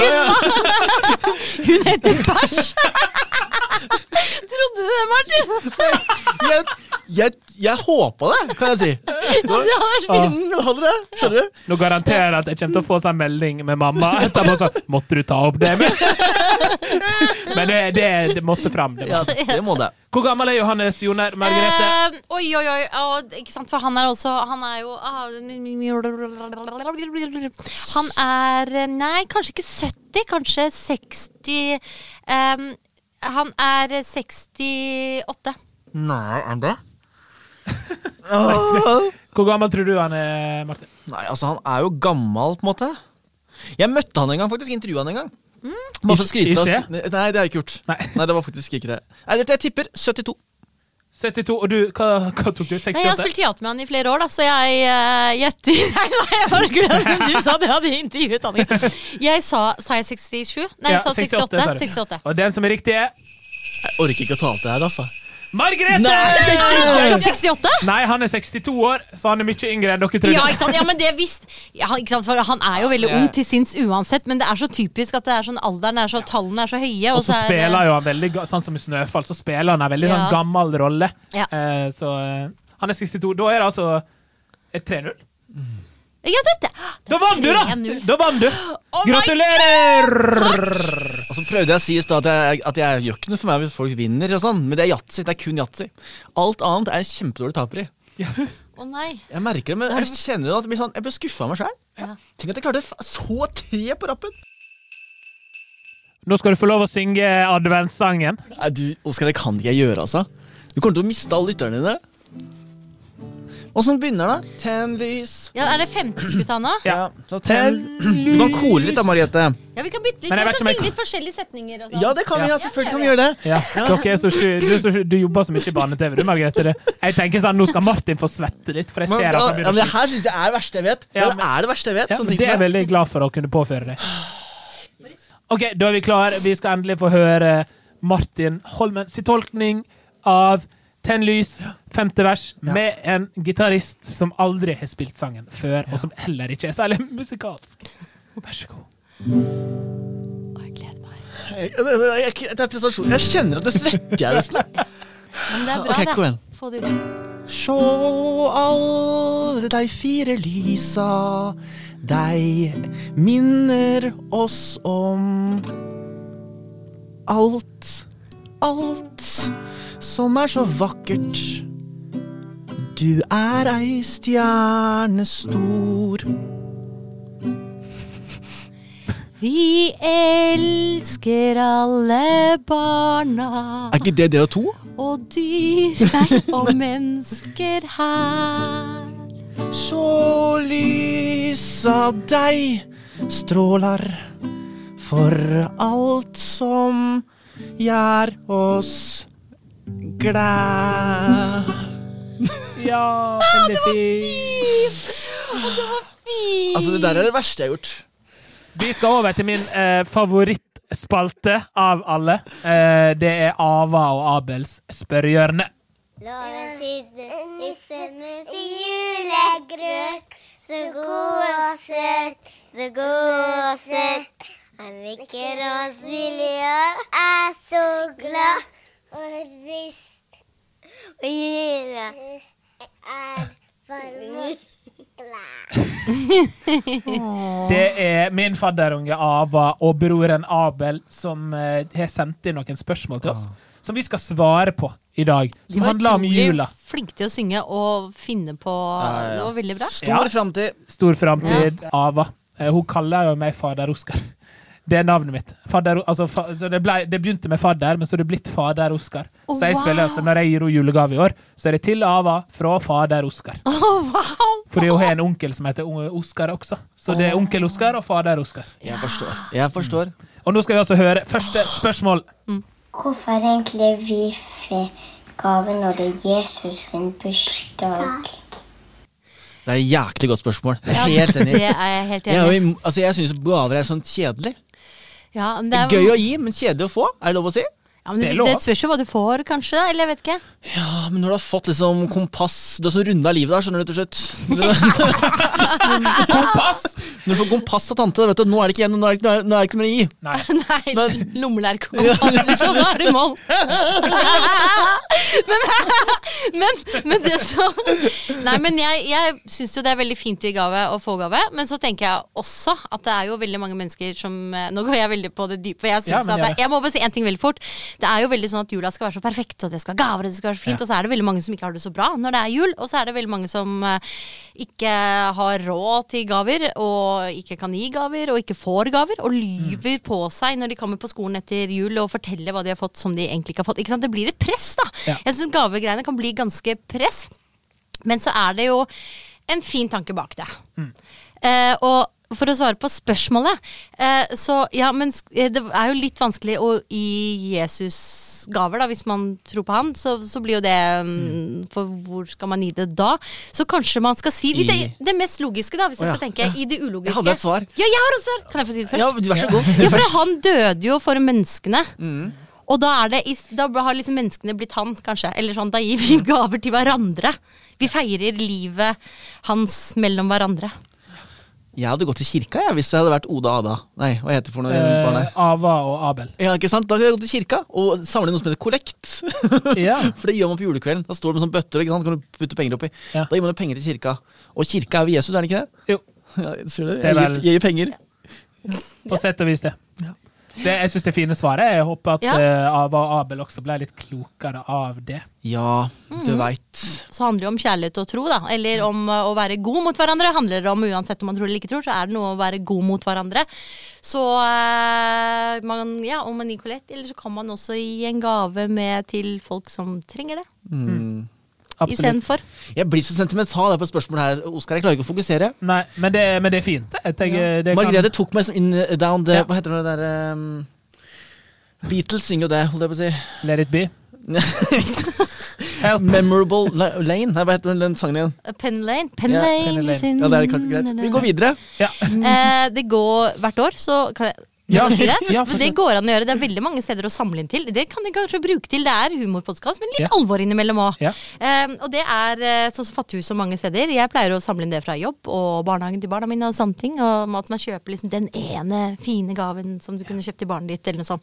*laughs* Hun heter Bæsj. Trodde du det, Martin? Jeg, jeg, jeg håpa det, kan jeg si. Ja, det hadde vært fint. Mm, hadde det, skjønner du? Nå garanterer jeg at jeg kommer til å få seg en melding med mamma etterpå. Så, måtte du ta opp det med? *laughs* Men det, det, det måtte fram. Det Ja, måtte. det må det. Hvor gammel er Johannes Joner Margrethe? Eh, oi, oi, oi. å, det- ikke sant, for han er også Han er jo ah, Han er eh, Nei, kanskje ikke 70, kanskje 60 ehm, Han er 68. Nei, er det? Åh. Eh. Hvor gammel tror du han er, Martin? Nei, altså, han er jo gammel, på en måte. Jeg møtte han en gang, faktisk. Intervjua han en gang. Mm. Bare for å I- i skryte av skje? Nei, det har jeg ikke gjort. Nei. *laughs* Nei, det var faktisk ikke det. Nei, dette jeg tipper 72. 72, og du, hva, hva tok du? Nei, jeg 68? har spilt teater med han i flere år, da, så jeg eh, gjetter *laughs* Nei, nei, jeg bare skulle altså, Du sa det, jeg hadde intervjuet han ikke. Jeg sa Sa jeg 67? Nei, jeg Ja, sa 68. 68, sa du. 68. Og den som er riktig, er Jeg orker ikke å ta opp det her, altså. Margrethe! Er han Nei, 68? han er 62 år, så han er mye yngre enn dere tror. Ja, ikke sant? ja, men det visst ja, ikke sant? For Han er jo veldig ung til sinns uansett, men det er så typisk at det er sånn alderen er så, tallene er så høye. Og så er det- spiller jo han veldig, ga- sånn som i Snøfall, så spiller han en veldig sånn Ja. gammel rolle. Ja. Eh, så eh, han er 62. Da er det altså et 3-0. Ja, dette Ah, Da vant du, da! 3-0. Da vant du. my Gratulerer! Og så prøvde jeg å si i stad at, jeg- at jeg gjør ikke noe for meg hvis folk vinner, og sånn, men det er yatzy. Det er kun yatzy. Alt annet er jeg kjempedårlig taper i. Å nei. Jeg merker det, men jeg kjenner jo at det blir sånn, jeg blir skuffa av meg sjøl. Ja. Tenk at jeg klarte f- så tre på rappen! Nå skal du få lov å synge adventssangen. Nei, du, Oskar, det kan ikke jeg gjøre, altså. Du kommer til å miste alle lytterne dine. Åssen begynner det? Ten lys Ja, er det femteskuttana? Ja, så ten Du kan kore litt da, Mariette. Ja, vi kan bytte litt. Men jeg Vi vet ikke om kan jeg synge litt forskjellige setninger. Og sånn. Ja, det kan vi. Ja, selvfølgelig kan vi gjøre det. Ja. Dere er så sky, du, er så sky, du jobber så mye i barne-TV, du, Margrethe. Det. Jeg tenker sånn, Nå skal Martin få svette litt, for jeg Man ser at skal, ja, men han begynner det å sky. her syns jeg er det verste jeg vet. Ja, Ja, men- det er det verste jeg vet. ja, sånne men ting Det som er Sånn jeg veldig glad for å kunne påføre deg. OK, da er vi klar. Vi skal endelig få høre Martin Holmen sin tolkning av Tenn lys, femte vers, med en gitarist som aldri har spilt sangen før, og som heller ikke er særlig musikalsk. Vær så god. Å, jeg gleder meg. Jeg- jeg- jeg- Det er prestasjon. Jeg kjenner at det svetter jeg nesten. Men det er bra, Ok, kom igjen. det. Få det ut. Sjå alle dei fire lysa, dei minner oss om alt, alt som er så vakkert. Du er ei stjerne stor. Vi elsker alle barna ikke det dere to? og dyr nei, og mennesker her. Så lysa deg strålar for alt som gjør oss glad. Ja, veldig fint. Altså, det der er det verste jeg har gjort. Vi skal over til min eh, favorittspalte av alle. Eh, det er Ava og Abels spørrehjørne. Loven sydde nissen med sin julegrøt. Så god og søt, så god og søt. Han nikker og smiler og er så glad. Og rist og jula er varm og glad. Det er min fadderunge Ava og broren Abel som eh, har sendt inn noen spørsmål til oss. Som vi skal svare på i dag. Som handler om jula. Flink til å synge og finne på ja, ja. Det var veldig bra. Stor Ja. framtid. Stor framtid, Ava. Eh, hun kaller jo meg fader Oskar. *laughs* Det er navnet mitt. Fader, altså, fa, så det, ble, det begynte med fadder, men så er det blitt fader Oskar. Å, så jeg spiller wow. altså, når jeg gir henne julegave i år, så er det til Ava fra fader Oskar. Å, wow! Fordi hun har en onkel som heter Oskar også. Så det er onkel Oskar og fader Oskar. Jeg forstår. Jeg forstår. Og nå skal vi altså høre første spørsmål. Hvorfor egentlig vi fikk gave når det er Jesus sin bursdag? Det er et jæklig godt spørsmål. Jeg er helt enig. Det er jeg helt Jeg, er jo enig i. im- altså, jeg syns gaver er sånn kjedelig. Ja, men Det det, er er, gøy å gi, men kjedelig å få. Er det lov å si? ja, men Det er det, lov. det spørs jo hva du får, kanskje. Eller jeg vet ikke. Ja, men når du har fått liksom kompass Du har sånn runda livet der, skjønner du, til slutt. Kompass! Når du får kompass av tante, vet du, nå er det ikke igjen, nå er det, nå er nå er det ikke mer å gi. Nei. *laughs* Nei, Men- lommelerkompass, liksom. Da er du i mål. *laughs* Men, *laughs* men, men det som Nei, men jeg, jeg syns jo det er veldig fint å gi gave og få gave, men så tenker jeg også at det er jo veldig mange mennesker som eh, Nå går jeg veldig på det dype, for jeg Ja, syns men at det, gjør det. Jeg må bare si en ting veldig fort. Det er jo veldig sånn at jula skal være så perfekt, og det skal være gaver, og det skal være fint, og så er det veldig mange som ikke har det så bra når det er jul, og så er det veldig mange som eh, ikke har råd til gaver, og ikke kan gi gaver, og ikke får gaver, og lyver på seg når de kommer på skolen etter jul og forteller hva de har fått som de egentlig ikke har fått. Ikke sant? Det blir et press, da. Ja. Jeg syns gavegreiene kan bli ganske press. Men så er det jo en fin tanke bak det. Mm. Eh, og for å svare på spørsmålet, eh, så ja, men sk- eh, det er jo litt vanskelig å gi Jesus gaver, da, hvis man tror på han. Så, så blir jo det mm, For hvor skal man gi det da? Så kanskje man skal si hvis det, I- det mest logiske, da, hvis jeg Å, ja. skal tenke i det ulogiske. Jeg hadde et svar. Ja, jeg har også et svar. Kan jeg få si det først? Ja, vær så god. Ja, for han døde jo for menneskene. Og da, er det, i- da har liksom menneskene blitt han, kanskje. Eller sånn, da gir Mm. vi gaver til hverandre. Vi feirer livet hans mellom hverandre. Jeg hadde gått til kirka jeg, hvis jeg hadde vært Oda Ada. Nei, hva heter det for noe? barn Eh, her? Ava og Abel. Eh, Ja, ikke sant? Da hadde jeg gått til kirka og samlet noe som heter kollekt. *laughs* Ja. For det gjør man på julekvelden. Da står det med sånne bøtter ikke sant? kan du putte penger oppi. Ja. Da gir man jo penger til kirka. Og kirka er ved Jesus, er den ikke det? Jo, *laughs* Ja, sier du det? Det er Jeg gir, vel- jeg gir penger. *laughs* på sett og vis det. det jeg syns det fine svaret er. Jeg håper at Ja. eh, Ava og Abel også ble litt klokere av det. Ja, du veit. Så handler det jo om kjærlighet og tro, da. Eller Mm. om eh, å være god mot hverandre. Handler det om uansett om man tror eller ikke tror, så er det noe å være god mot hverandre. Så eh, man, ja, om en Nicolette, eller så kan man også gi en gave med til folk som trenger det. Absolutt. Istedenfor. Mm. Jeg blir så sentimental her på spørsmålet her, Oskar. Jeg klarer ikke å fokusere. Nei, men det, men det er fint. Jeg tenker, det kan- Margrethe tok meg som in down the Ja. Hva heter det derre um, Beatles synger jo det, holdt jeg på å si. Let it be. Help. Memorable la Lane. Nei, hva heter den- den sangen igjen? Penn Lane. Penn Ja, Lane. Penn Lane. is in- Ja, det er kanskje greit. Vi går videre. Ja. Eh, det går hvert år, så kan jeg Ja. kan jeg si *laughs* det? Ja, Men det går an å gjøre. Det er veldig mange steder å samle inn til. Det kan de kanskje bruke til. Det er humorpodkast, men litt Ja. alvor innimellom òg. Ja. og det er eh, sånn som Fattighus og mange steder. Jeg pleier å samle inn det fra jobb og barnehagen til barna mine og sånne ting. Og at man kjøper liksom den ene fine gaven som du kunne kjøpt til barnet ditt, eller noe sånt.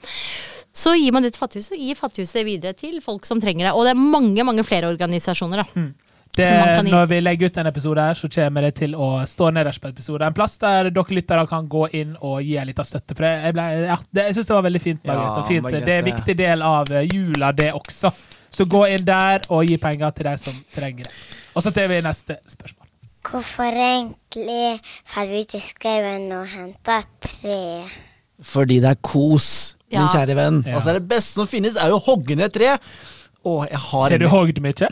Så gir man det til Fattighuset, og gir Fattighuset videre til folk som trenger det. Og det er mange, mange flere organisasjoner, da. Mm. Det, Som man kan gi. når vi legger ut en episode, her, så kommer det til å stå nederst på episode. En plass der dere lyttere kan gå inn og gi en liten støtte. For det, jeg, ble, ja, det, jeg synes det var veldig fint. Margrethe. Ja, fint. Det er en Margrethe. viktig del av eh, jula, det også. Så gå inn der og gi penger til de som trenger det. Og så tar vi neste spørsmål. Hvorfor egentlig drar vi ut i skauen og henter tre? Fordi det er kos, min Ja. kjære venn. Ja. Altså, det er det beste som finnes, er jo å hogge ned et tre. Å, jeg har Er du hogd mye?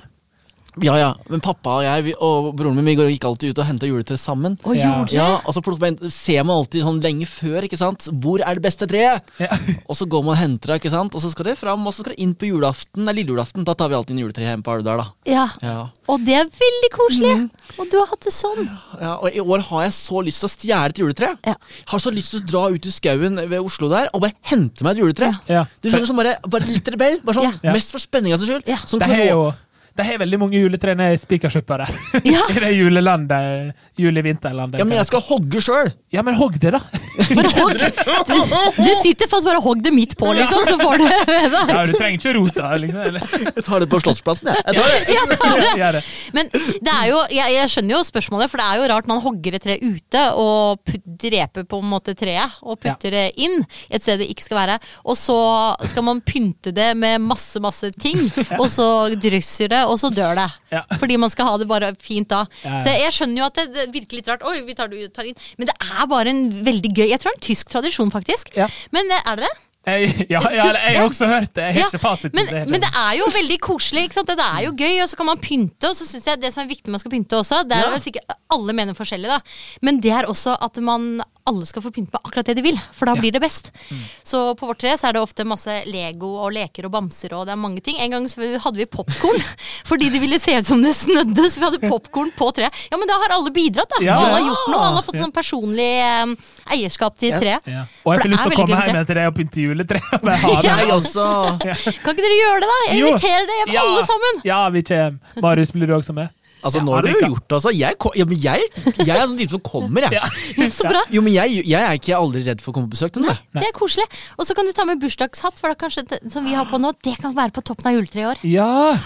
Ja, ja. Men pappa og jeg vi, og broren min vi går- gikk alltid ut og henta juletre sammen. Og Ja. gjorde det? Ja, og så plukker man, ser man alltid sånn lenge før, ikke sant. Hvor er det beste treet? *laughs* Ja. Og så går man og henter det, ikke sant. Og så skal det fram, og så skal det inn på julaften. Nei, lille julaften. Da tar vi alltid inn juletre hjemme på Alvdal, da. Ja. Ja. Og det er veldig koselig. Mm. Og du har hatt det sånn. Ja, og i år har jeg så lyst til å stjele et juletre. Ja. Har så lyst til å dra ut i skauen ved Oslo der og bare hente meg et juletre. Ja. Du skjønner sånn bare, bare litt rebell. Bare sånn, Ja. Mest for spenninga sin skyld. Ja. Som Det kan er nå- jo det er veldig mange juletre nede i Spikersuppa der. Ja. *laughs* I det julelandet, julevinterlandet. ja, men jeg skal hogge sjøl! Ja, men hogg *laughs* det, da! Bare hogg. Du, du sitter fast, bare hogg det midt på, liksom, så får du med deg. Ja, du trenger ikke rota, liksom. *laughs* Eller? Jeg tar det på Slottsplassen, jeg. jeg tar det. Ja, ta det. Gjør det. Men det er jo, jeg, jeg skjønner jo spørsmålet, for det er jo rart. Man hogger et tre ute og put, dreper på en måte treet og putter det inn et sted det ikke skal være. Og så skal man pynte det med masse, masse *laughs* ting, og så drysser det, og så dør det. Ja. Fordi man skal ha det bare fint da. Ja, ja. Så jeg skjønner jo at det, det virker litt rart. Oi, vi tar det ut, tar det inn. Men det er bare en veldig gøy Jeg tror det er en tysk tradisjon, faktisk. Ja. Men eh, er det det? Jeg, ja, ja, jeg har også hørt det. Jeg har Ja, ikke fasiten. men, det er men det ikke- er jo veldig koselig. Ikke sant? Det er jo gøy, og så kan man pynte. Og så synes jeg det som er viktig når man skal pynte også, det er vel sikkert alle mener forskjellig, da. Men det er også at man alle skal få pynte med akkurat det de vil, for da blir det best. Mm. Så på vårt tre så er det ofte masse Lego og leker og bamser og det er mange ting. En gang så hadde vi popkorn *laughs* fordi det ville se ut som det snødde, så vi hadde popkorn på treet. Ja, men da har alle bidratt, da. Ja. Alle har gjort noe. Alle har fått Ja. sånn personlig eh, eierskap til treet. ja. Og jeg får For det lyst til er å veldig komme gøy med hjem til deg og pynte juletre. Bare ha det. Jeg også. Kan ikke dere gjøre det, da? Jeg Jo. inviterer dere hjem, Ja. alle sammen. Ja, vi kommer. Marius, blir du også med? Altså, Ja, nå har du Annika. gjort det, altså. Jeg, ko- ja, men jeg, jeg er sånn type som kommer, jeg. Ja. Så bra. Jo, men jeg, jeg er ikke aldri redd for å komme på besøk. Nei. Det er koselig. Og så kan du ta med bursdagshatt, for da kanskje det, som vi har på nå, det kan være på toppen av juletreet i år. Ja.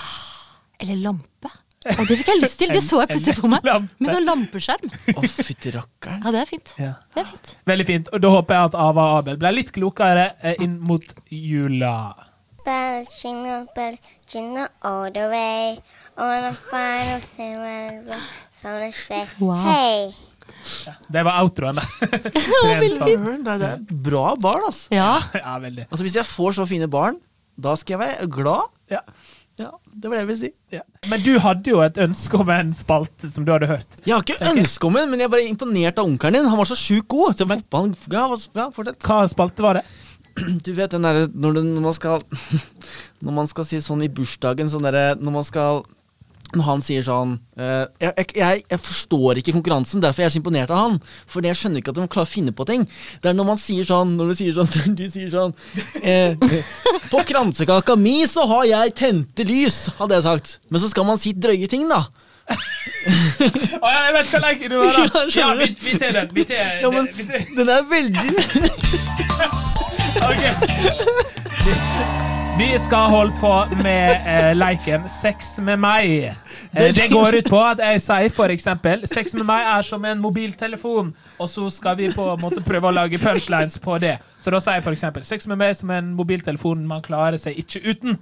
Eller lampe. Og det fikk jeg lyst til, det så jeg plutselig for meg. Lampe. Med sånn lampeskjerm. Å, fytti rakkeren. Ja, det er fint. ja. Det er fint. Veldig fint. Og da håper jeg at Ava og Abel ble litt klokere eh, inn mot jula. Bells jingle, bells jingle all the way. On a final silver, on a shake. Wow. Hey! Det var outroen, da. veldig fint. Søren, Det det er bra barn, altså. Ja. Ja, veldig. altså. Hvis jeg får så fine barn, da skal jeg være glad. Ja. Ja, Det var det jeg ville si. Ja. Men du hadde jo et ønske om en spalte som du hadde hørt. Jeg har ikke ønske om en, men jeg er bare imponert av onkelen din. Han var så sjukt god. til fotballen. Ja, hva- ja, fortsett. Hva spalte var det? Du vet den derre *laughs* når, det- når man skal Når man skal si sånn i bursdagen sånn derre Når man skal når han sier sånn eh, jeg, jeg- jeg, jeg forstår ikke konkurransen, derfor jeg er så imponert av han. For jeg skjønner ikke at de klarer å finne på ting. Det er når man sier sånn Når du sier sånn, *laughs* du sier sånn eh, På kransekaka mi så har jeg tente lys, hadde jeg sagt. Men så skal man si drøye ting, da. Å, ja, jeg vet hva leken du har. da. Ja, skjønner Ja, du. vi, vi tar den. Vi tar, Ja, men vi tar. den er veldig Ok. Vi skal holde på med eh, leiken Sex med meg. Eh, det går ut på at jeg sier for eksempel Sex med meg er som en mobiltelefon, og så skal vi på en måte prøve å lage punchlines på det. Så da sier jeg for eksempel Sex med meg er som en mobiltelefon man klarer seg ikke uten.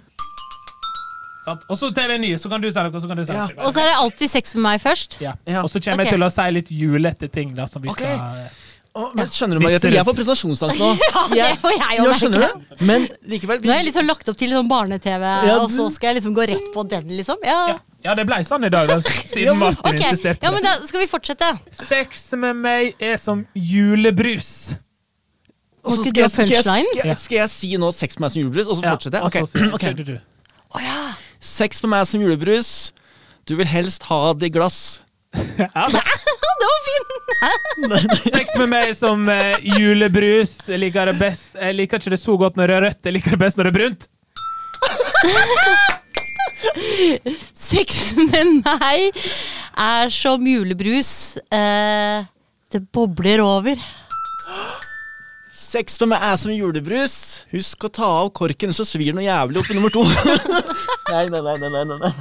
Sant? Og så tar vi en ny, så kan du si noe. Så kan du si Ja. noe. Og så er det alltid sex med meg først. Ja. Ja. Og så kommer Ok. jeg til å si litt julete ting. da Som vi Ok. skal eh, Å, Men skjønner du, Margrethe, jeg får presentasjonsangst nå. Ja, det får jeg også ja, merke. skjønner du? Men likevel Nå har jeg vi, liksom lagt opp til sånn barne-TV, Ja, og du- så skal jeg liksom gå rett på den, liksom. Ja, Ja, ja det ble sånn i dag, da, *laughs* siden Martin ok. insisterte. Ja, men da skal vi fortsette. Sex med meg er som julebrus. og så Må ikke skal, jeg- du ha skal, jeg- punchline? skal, jeg- skal jeg si nå sex med meg som julebrus, og så fortsetter jeg? og så Ok, sier- ok. Du, du, du. Å ja. Sex med meg som julebrus. Du vil helst ha det i glass. Det var fint! Sex med meg som eh, julebrus. Jeg liker det best Jeg liker ikke det så godt når det er rødt, jeg liker det best når det er brunt. Sex *laughs* med meg er som julebrus. Eh, det bobler over. Sex for meg er som julebrus. Husk å ta av korken, så svir det noe jævlig opp i *laughs* nummer to. nei, nei, nei, nei, nei, nei.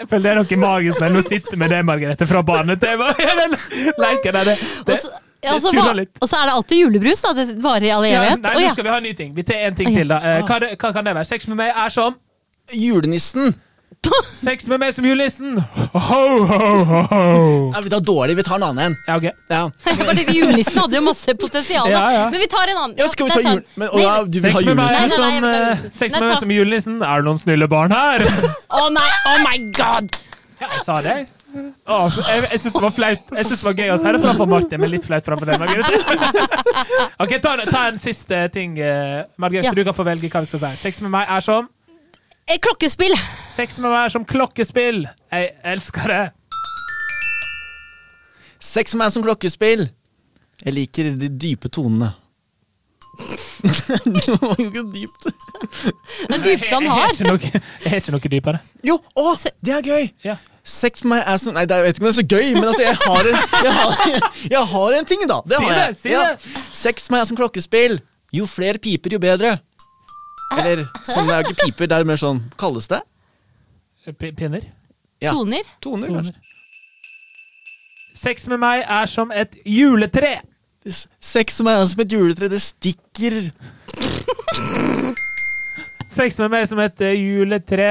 Jeg føler det er noe magisk når jeg nå sitter med det, Margrethe, fra *laughs* barne-TV. Den Leiken der, det, Og det. så ja, og så skurrer hva- litt. og så er det alltid julebrus, da. Det varer i all Ja, evighet. nei, Å, nå ja. skal vi ha en ny ting. Vi tar en ting til, da. Eh, hva, er det- hva kan det være? Sex med meg er som Julenissen. Sex med meg som julenissen. Ho, ho, ho, ho. Er vi da dårlig? Vi tar en annen en. Ja, ok. *laughs* Ja. Bare det, Julenissen hadde jo masse potensial. da. Ja, ja. Men vi tar en annen. ja, skal vi der ta tar- jul... Men, å, ja, du vil Sex ha med meg julenissen? Nei, er nei, nei, jeg som, vil eh, ta julenissen. sex Nei, med meg ta- som julenissen. Er det noen snille barn her? *laughs* Å nei, oh my god! Ja, jeg sa det. Å, jeg jeg syns det var flaut. Jeg synes det var gøy å si det framfor Martin, men litt flaut framfor deg, Margrethe. *laughs* Ok, ta, ta en siste ting. eh, Margrethe, Ja. du kan få velge hva vi skal si. Sex med meg er som Eh, Klokkespill. *laughs* Sex med meg er som klokkespill. Jeg elsker det. Sex med meg som klokkespill. Jeg liker de dype tonene. *laughs* det var jo ikke dypt. Den *laughs* dypeste han Jeg har. har ikke noe, jeg har ikke noe dypere. Jo, å, det er gøy! Ja. Sex med meg er som Nei, det er, jeg vet ikke om det er så gøy, men altså, jeg har *laughs* en, *laughs* jeg har, jeg har en ting, da. Det Si har jeg. det, si Ja. Sex med meg er som klokkespill. Jo flere piper, jo bedre. Ah. Eller sånn, det er jo ikke piper, det er mer sånn Kalles det? P- Pinner. Ja. Toner. Toner, kanskje. Sex med meg er som et juletre. S- Sex med meg er som et juletre, det stikker. Sex med meg som et eh, juletre.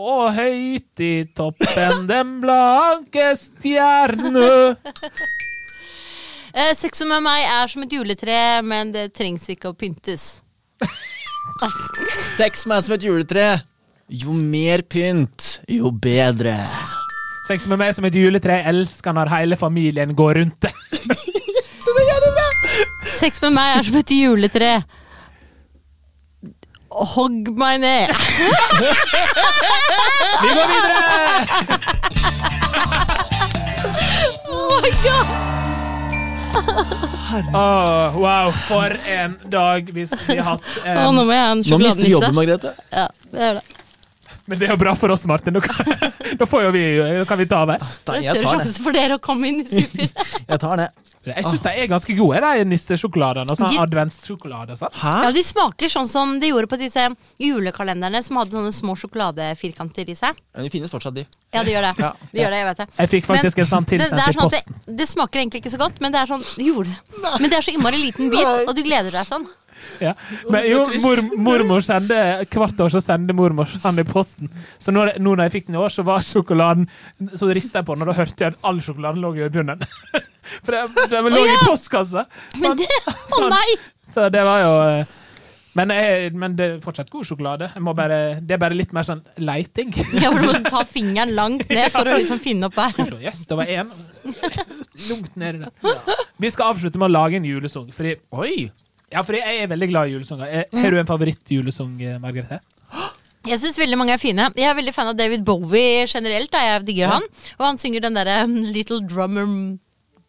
Og høyt i toppen *laughs* den blanke stjerne. Eh, sex med meg er som et juletre, men det trengs ikke å pyntes. Sex med meg er som et juletre. Jo mer pynt, jo bedre. Sex med meg som et juletre. Jeg elsker når hele familien går rundt det. *laughs* Sex med meg er som et juletre. Hogg meg ned. Vi går videre! Oh my god! Åh, wow, for en dag vi vi har *laughs* hatt. Å, nå em, må jeg ha Nå mister en du sjokoladenisse. jobben, Margrethe. Ja, det er det. men det er jo bra for oss, Martin. Da kan, *laughs* da får jo vi, da kan vi ta av her. Da, Det er jeg tar større det. sjanse for dere å komme inn i super. Jeg tar det. Jeg syns de er ganske gode, de nissesjokoladene og sånn De- adventssjokolade. og Sånn. Hæ? Ja, De smaker sånn som de gjorde på disse julekalenderne som hadde sånne små sjokoladefirkanter i seg. Men det finnes fortsatt de. Ja, de gjør det. Ja. De gjør det, jeg vet det. Jeg fikk faktisk en sånn det, det, tilsendt er i sånn at posten. det, det smaker egentlig ikke så godt, men det er sånn jule. Men det er så innmari liten bit, og du gleder deg sånn. Ja. Men jo, mor, mormor sendte hvert år så sendte mormor den i posten. Så når, nå når jeg fikk den i år, så var sjokoladen Så rista jeg på den, og da hørte jeg at all sjokoladen lå i bunnen. *laughs* For det, det lå i ja! postkassa. Men Sant? det, å nei! Så det var jo eh, men, jeg, men det er fortsatt god sjokolade. Jeg må bare, det er bare litt mer sånn leiting. Ja, for Du må ta fingeren langt ned for å liksom finne opp her. Jøss, yes, det var én. *laughs* Lungt nedi der. Vi skal avslutte med å lage en julesang. Fordi, Oi! ja, fordi jeg er veldig glad i julesanger. Eh, Har du en favorittjulesang, eh, Margrethe? Jeg syns veldig mange er fine. Jeg er veldig fan av David Bowie generelt. Da. Jeg digger han. Og han synger den derre um, Little Drummer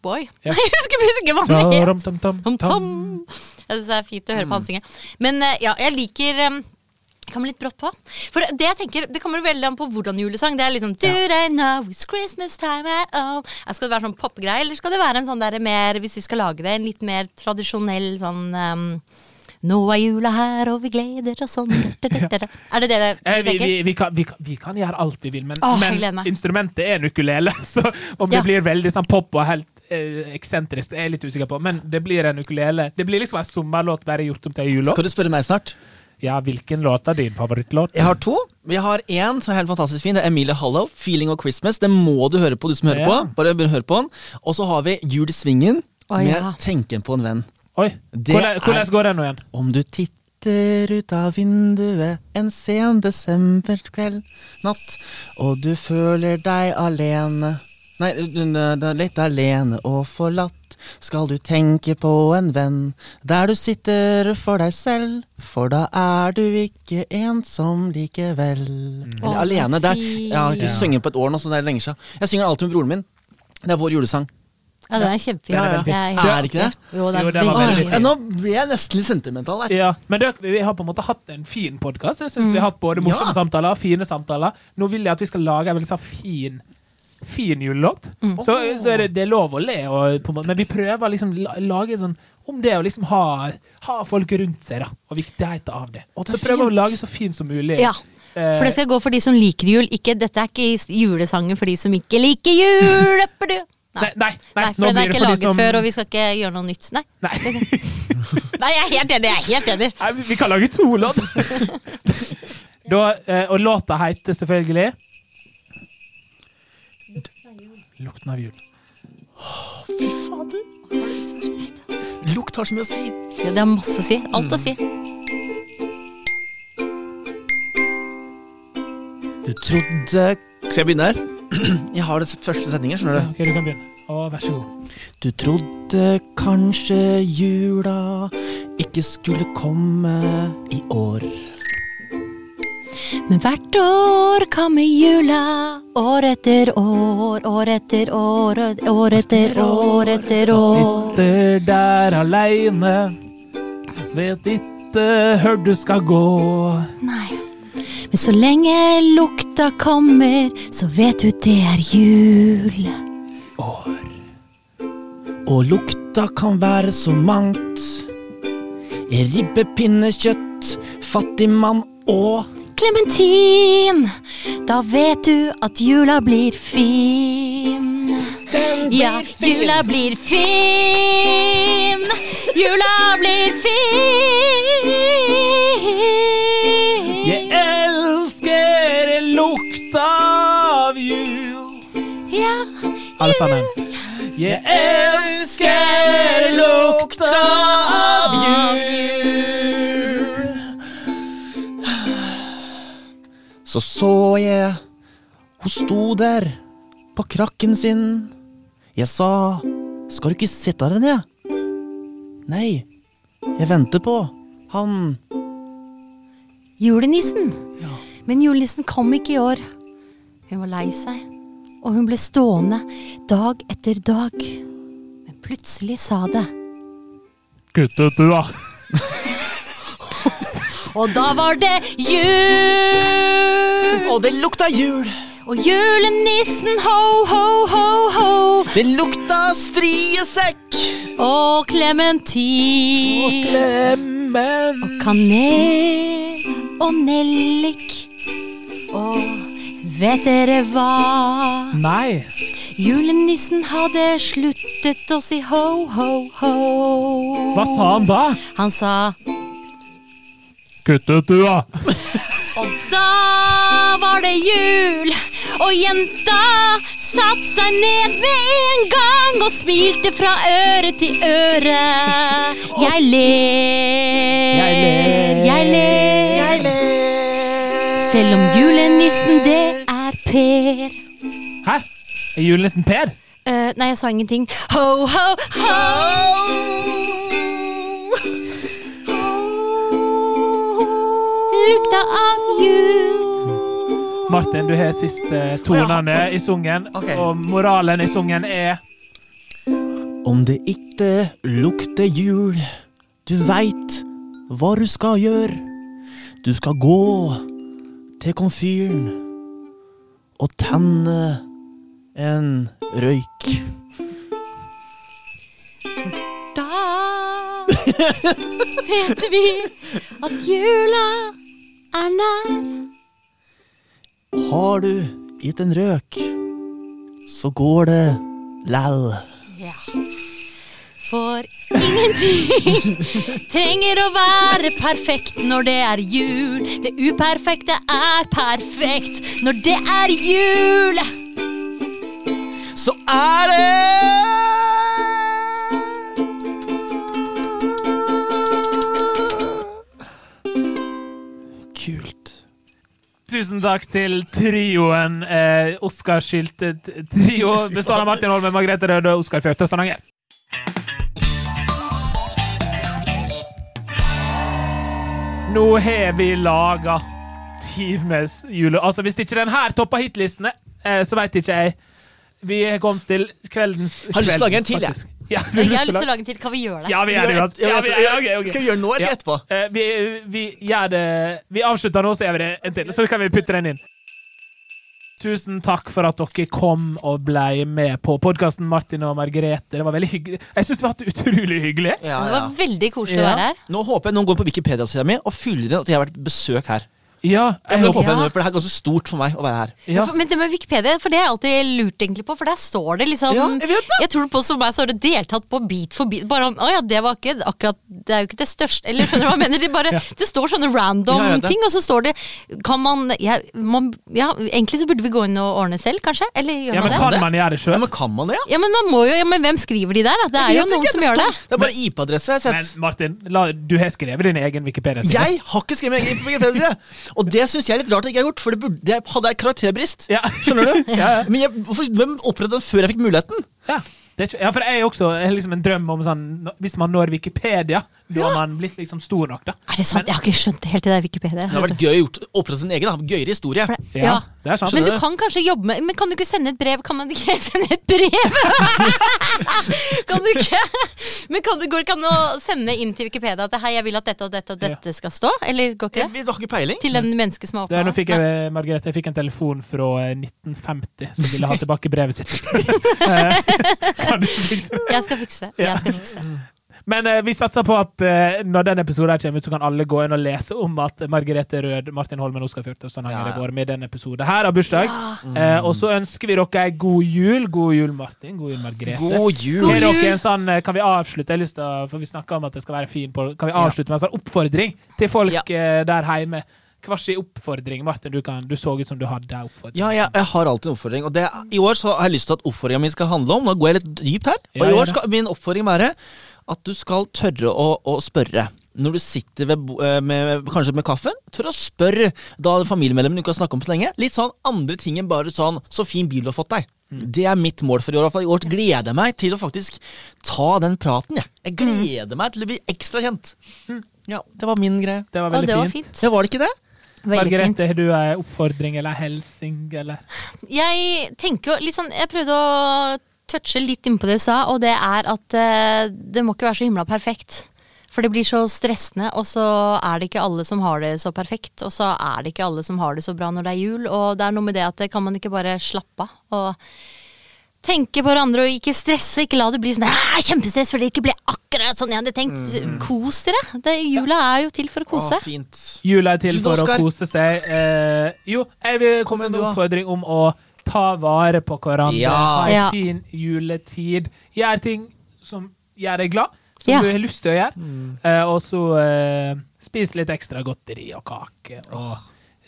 Boy. Ja. *laughs* jeg husker plutselig ikke hva Ja, han het. ram, tam, tam, Tom, tam. tom. Jeg syns det er fint å høre på han synge. Men eh, ja, jeg liker um, jeg kommer litt brått på. For Det jeg tenker, det kommer veldig an på hvordan julesang. Det er liksom Do they know it's Christmas time at all? Eh, Skal det være sånn popgreie, eller skal det være en sånn der mer, hvis vi skal lage det, en litt mer tradisjonell sånn um, Nå er jula her, og vi gleder oss sånn da, da, da, da. Er det det vi Eh, vi, tenker? vi, vi, kan, vi, kan, vi kan gjøre alt vi vil, men, Åh, jeg gleder men meg. instrumentet er en ukulele. *laughs* Så om det Ja. blir veldig sånn pop og helt eh, eksentrisk, det er jeg litt usikker på. Men det blir en ukulele. Det blir liksom en sommerlåt bare gjort om til en Skal julelåt. du spørre meg snart? Ja, hvilken låt er din favorittlåt? Jeg har to. Vi har én som er helt fantastisk fin. Det er Emilie Hallow, 'Feeling of Christmas'. Den må du høre på, du som hører Ja. på. Bare begynn å høre på den. Og så har vi Jul i Svingen Å, med ja. 'Tenken på en venn'. Oi, Det hvordan, hvordan er- går den nå igjen? Om du titter ut av vinduet en sen desemberkveld natt, og du føler deg alene Nei, du- du- du- litt alene og forlatt. Skal du tenke på en venn der du sitter for deg selv, for da er du ikke ensom likevel. Eller Å, alene. Det er, jeg har Ja. ikke sunget på et år nå, så det er lenge siden. Jeg synger alltid med broren min. Det er vår julesang. Ja, den er kjempefin. Ja, ja. Jeg Er helt det ikke det? enig. Jo, den Jo, er den var veldig veldig fin. Ja, nå ble jeg nesten litt sentimental her. *laughs* Ja, men dere, vi har på en måte hatt en fin podkast. Jeg synes vi har hatt Mm. både morsomme Ja. samtaler og fine samtaler. Nå vil jeg at vi skal lage en veldig sånn fin fin julelåt. Mm. Så, så er det, det er lov å le, og, på en måte, men vi prøver å liksom la- lage sånn om det å liksom ha, ha folk rundt seg, da, og viktigheten av det. Å, det er så prøver vi å fint. lage så fin som mulig. Ja. Eh, For det skal gå for de som liker jul. Ikke, dette er ikke s- julesangen for de som ikke liker jul. Epper du? Nei, Nei. nei, nei, Nei, for nå den blir er det for ikke de laget som- før, og vi skal ikke gjøre noe nytt. Nei, *laughs* Nei. nei jeg er helt enig! Jeg er helt enig. Nei, vi- vi kan lage to låter. da, eh, og låta heter selvfølgelig Lukten av jul. Fy fader. Lukt har så mye å si. Det, det har masse å si. Alt å si. Du trodde Skal jeg begynne her? *clears throat* Jeg har det s- første setningen, skjønner du. Ok, du kan begynne. Å, vær så god. Du trodde kanskje jula ikke skulle komme i år. Men hvert år kommer jula. År etter år, år etter år, år etter år etter år. Sitter der aleine, vet ikke hvor du skal gå. Nei. Men så lenge lukta kommer, så vet du det er jul. År. Og lukta kan være så mangt. Ribbepinnekjøtt, fattigmann og Clementin, da vet du at jula blir fin. Ja, jula blir fin. Jula blir fin. Jeg elsker lukta av jul. Ja, Alle sammen. Jeg elsker lukta av jul. Så så jeg hun sto der på krakken sin. Jeg sa, skal du ikke sitte der ned? Nei, jeg venter på han. julenissen. Men julenissen kom ikke i år. Hun var lei seg, og hun ble stående dag etter dag. Men plutselig sa det. Kutt ut, du, da. Og da var det jul! Og det lukta jul, Og julenissen ho, ho, ho, ho. det lukta striesekk. Og klementin. Klemmen. Og kanel og nellik. Og vet dere hva? Nei. Julenissen hadde sluttet å si ho, ho, ho. Hva sa han da? Han sa Kutt ut, du, da. Og da var det jul, og jenta satt seg ned med en gang og smilte fra øre til øre. Jeg ler, Jeg ler. jeg ler. Selv om julenissen, det er Per. Hæ? Er julenissen Per? Eh, nei, jeg sa ingenting. Ho, ho, ho! Lukta av jul. Martin, du har siste tonene i sungen, Ok. og moralen i sungen er Om det ikke lukter jul, du veit hva du skal gjøre. Du skal gå til komfyren og tenne en røyk. Da vet vi at jula er nær. Har du gitt en røk, så går det læll. Ja. For ingenting trenger å være perfekt når det er jul. Det uperfekte er perfekt når det er jul. Så er det Kult. Tusen takk til trioen eh, Oscarskiltet *laughs* trio bestående av Martin Holmen, Margrethe Røde og Oskar Fjørtoft Stavanger. Nå har vi laga times jule... Altså, hvis ikke den her topper hitlistene, eh, så veit ikke jeg. Vi har kommet til kveldens Har lyst til å lage en kveldens, til, jeg. faktisk. Ja, vi Jeg har lyst til lage- å lage en til. Kan vi gjøre det? Ja, vi gjør det uansett. Ja, vi- ja, ok, ok. Skal vi gjøre det nå eller Ja. etterpå? Eh, vi, vi gjør det Vi avslutter nå, så gjør vi det en til. Så kan vi putte den inn. Tusen takk for at dere kom og ble med på podkasten, Martin og Margrethe. Det var veldig hyggelig. Jeg syns vi har hatt det utrolig hyggelig. Ja, Det ja. var veldig koselig å Ja. være her. Nå håper jeg noen går på Wikipedia-sida mi og fyller inn at jeg har vært besøk her. Ja, Jeg jeg håper håper jeg nå, Ja. for Det her er ganske stort for meg å være her. ja. For- Men det med Wikipedia, for det er jeg alltid lurt egentlig på, for der står det liksom Ja, jeg vet det. tror på som meg så har det deltatt på Beat for beat. Bare om, å ja, det var ikke akkurat Det er jo ikke det største Eller skjønner du hva jeg mener? Det, bare, det står sånne random Ja, jeg vet det. ting, og så står det Kan man, jeg, man Ja, egentlig så burde vi gå inn og ordne selv, kanskje? Eller gjør ja, men man det? kan man gjøre det Ja, sjøl? men kan man det, ja? Ja, men man må jo Ja, men hvem skriver de der, da? Det er jo Jeg vet noen ikke, som gjør det. står- Det er bare IP-adresse jeg har Men sett. Martin, la, du har skrevet din egen Wikipedia-side. Jeg har ikke skrevet egen Wikipedia-side! Og det syns jeg er litt rart at jeg ikke har gjort, for det, burde, det hadde jeg karakterbrist. Ja. Skjønner *laughs* du? Men jeg, hvorfor, hvem opprettet den før jeg fikk muligheten? Ja. Det er ikke, ja, for jeg er også jeg har liksom en drøm om sånn nå- Hvis man når Wikipedia, da har man blitt liksom stor nok, da. Er det sant? Jeg har ikke skjønt det helt, det der Wikipedia. Det hadde vært gøy å gjort- opprette sin egen. da. Gøyere historie. For det- Ja, det er sant. Men du Skjønner du? kan kanskje jobbe med Men kan du ikke sende et brev? Kan man ikke *laughs* sende et brev? *laughs* kan du ikke? Men kan det, går det ikke an å sende inn til Wikipedia at hei, jeg vil at dette og dette og dette skal stå? Eller går ikke Jeg, jeg det? har ikke peiling. Til den menneske som har Det, åpna nå fikk jeg, eh, Margrethe, jeg fikk en telefon fra eh, 1950 som ville ha tilbake brevet sitt. Eh, *laughs* kan du liksom- Jeg skal fikse det. Jeg skal fikse det. Men eh, vi satser på at eh, når den episoden her kommer ut, så kan alle gå inn og lese om at Margrethe Rød, Martin Holmen og Oskar Fjørtoft sånn Ja, henger ja. det vår med den episoden her av bursdag. Eh, og så ønsker vi dere ei god jul. God jul, Martin. God jul, Margrethe. God jul. God Har jul. dere en sånn, eh, kan vi avslutte Jeg har lyst til å, for vi snakket om at det skal være en fin på, Kan vi avslutte med en sånn oppfordring til folk Ja. eh, der hjemme? Hva slags oppfordring, Martin? Du, kan, du så ut som du hadde en oppfordring. Ja, jeg, jeg har alltid en oppfordring. Og det, i år så har jeg lyst til at oppfordringa mi skal handle om Nå går jeg litt dypt her. Ja, Og i gjør år det. skal min oppfordring være at du skal tørre å, å spørre. Når du sitter ved, bo- eh, med, kanskje med kaffen, tør å spørre da familiemedlemmen du ikke har snakket om så lenge. Litt sånn andre ting enn bare sånn 'så fin bil du har fått deg'. Det er mitt mål for i år. i hvert fall. I år gleder jeg meg til å faktisk ta den praten. Jeg, jeg gleder meg til å bli ekstra kjent. Ja, Det var min greie. Det var Og veldig det var fint. fint. Ja, var det ikke det? Veldig fint. Margrethe, har du ei oppfordring eller ei helsing eller Jeg tenker jo litt sånn Jeg prøvde å touche litt innpå det jeg sa, og det er at eh, det må ikke være så himla perfekt. For det blir så stressende, og så er det ikke alle som har det så perfekt. Og så er det ikke alle som har det så bra når det er jul. Og det er noe med det at det kan man ikke bare slappe av og tenke på hverandre og ikke stresse. Ikke la det bli sånn «Ah, kjempestress fordi det ikke ble akkurat sånn jeg hadde tenkt. Kos dere. Det, jula er jo til for å kose. Å, fint. Jula er til Du, for å Oskar. kose seg. Eh, jo, jeg vil Kom komme igjen, med du, en da. oppfordring om å ta vare på hverandre. Ja. Ha en Ja. fin juletid. Gjør ting som gjør deg glad, som Ja. du har lyst til å gjøre. Mm. Eh, og så eh, spis litt ekstra godteri og kake og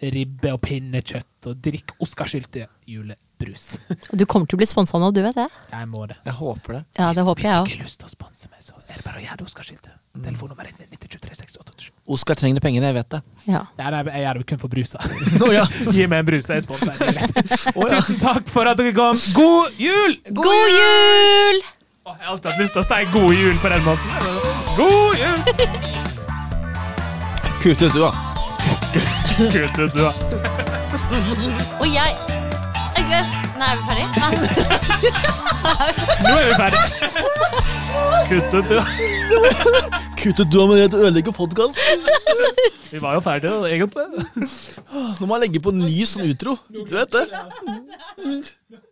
ribbe og pinnekjøtt, og drikk Oscarsylte julebrus. *laughs* Og Du kommer til å bli sponsa nå, du vet det? jeg må det. Jeg håper det. Ja, det håper Hvis du jeg òg. ikke har lyst til å sponse meg, så er det bare å gjøre det Oscarsylte. Mm. Telefonnummeret er 9236887. Oskar trenger de pengene, jeg vet det. Ja. Nei, nei, jeg gjør det kun for *laughs* brusa. Å, ja. Gi meg en brus, jeg sponser deg direkte. *laughs* Å, ja. Tusen takk for at dere kom. God jul! God jul! Å, Jeg har alltid hatt lyst til å si god jul på den måten. God jul! Kutt ut, du, da. Kult, vet du hva. Og jeg Jeg guess- Nei, er vi ferdig? Nei. Nå er vi *laughs* ferdige. Kutt ut. ja. Kutte du har med redd ødelegge podkast. Vi var jo ferdige, egentlig. Nå må jeg legge på en ny sånn utro. Du vet det?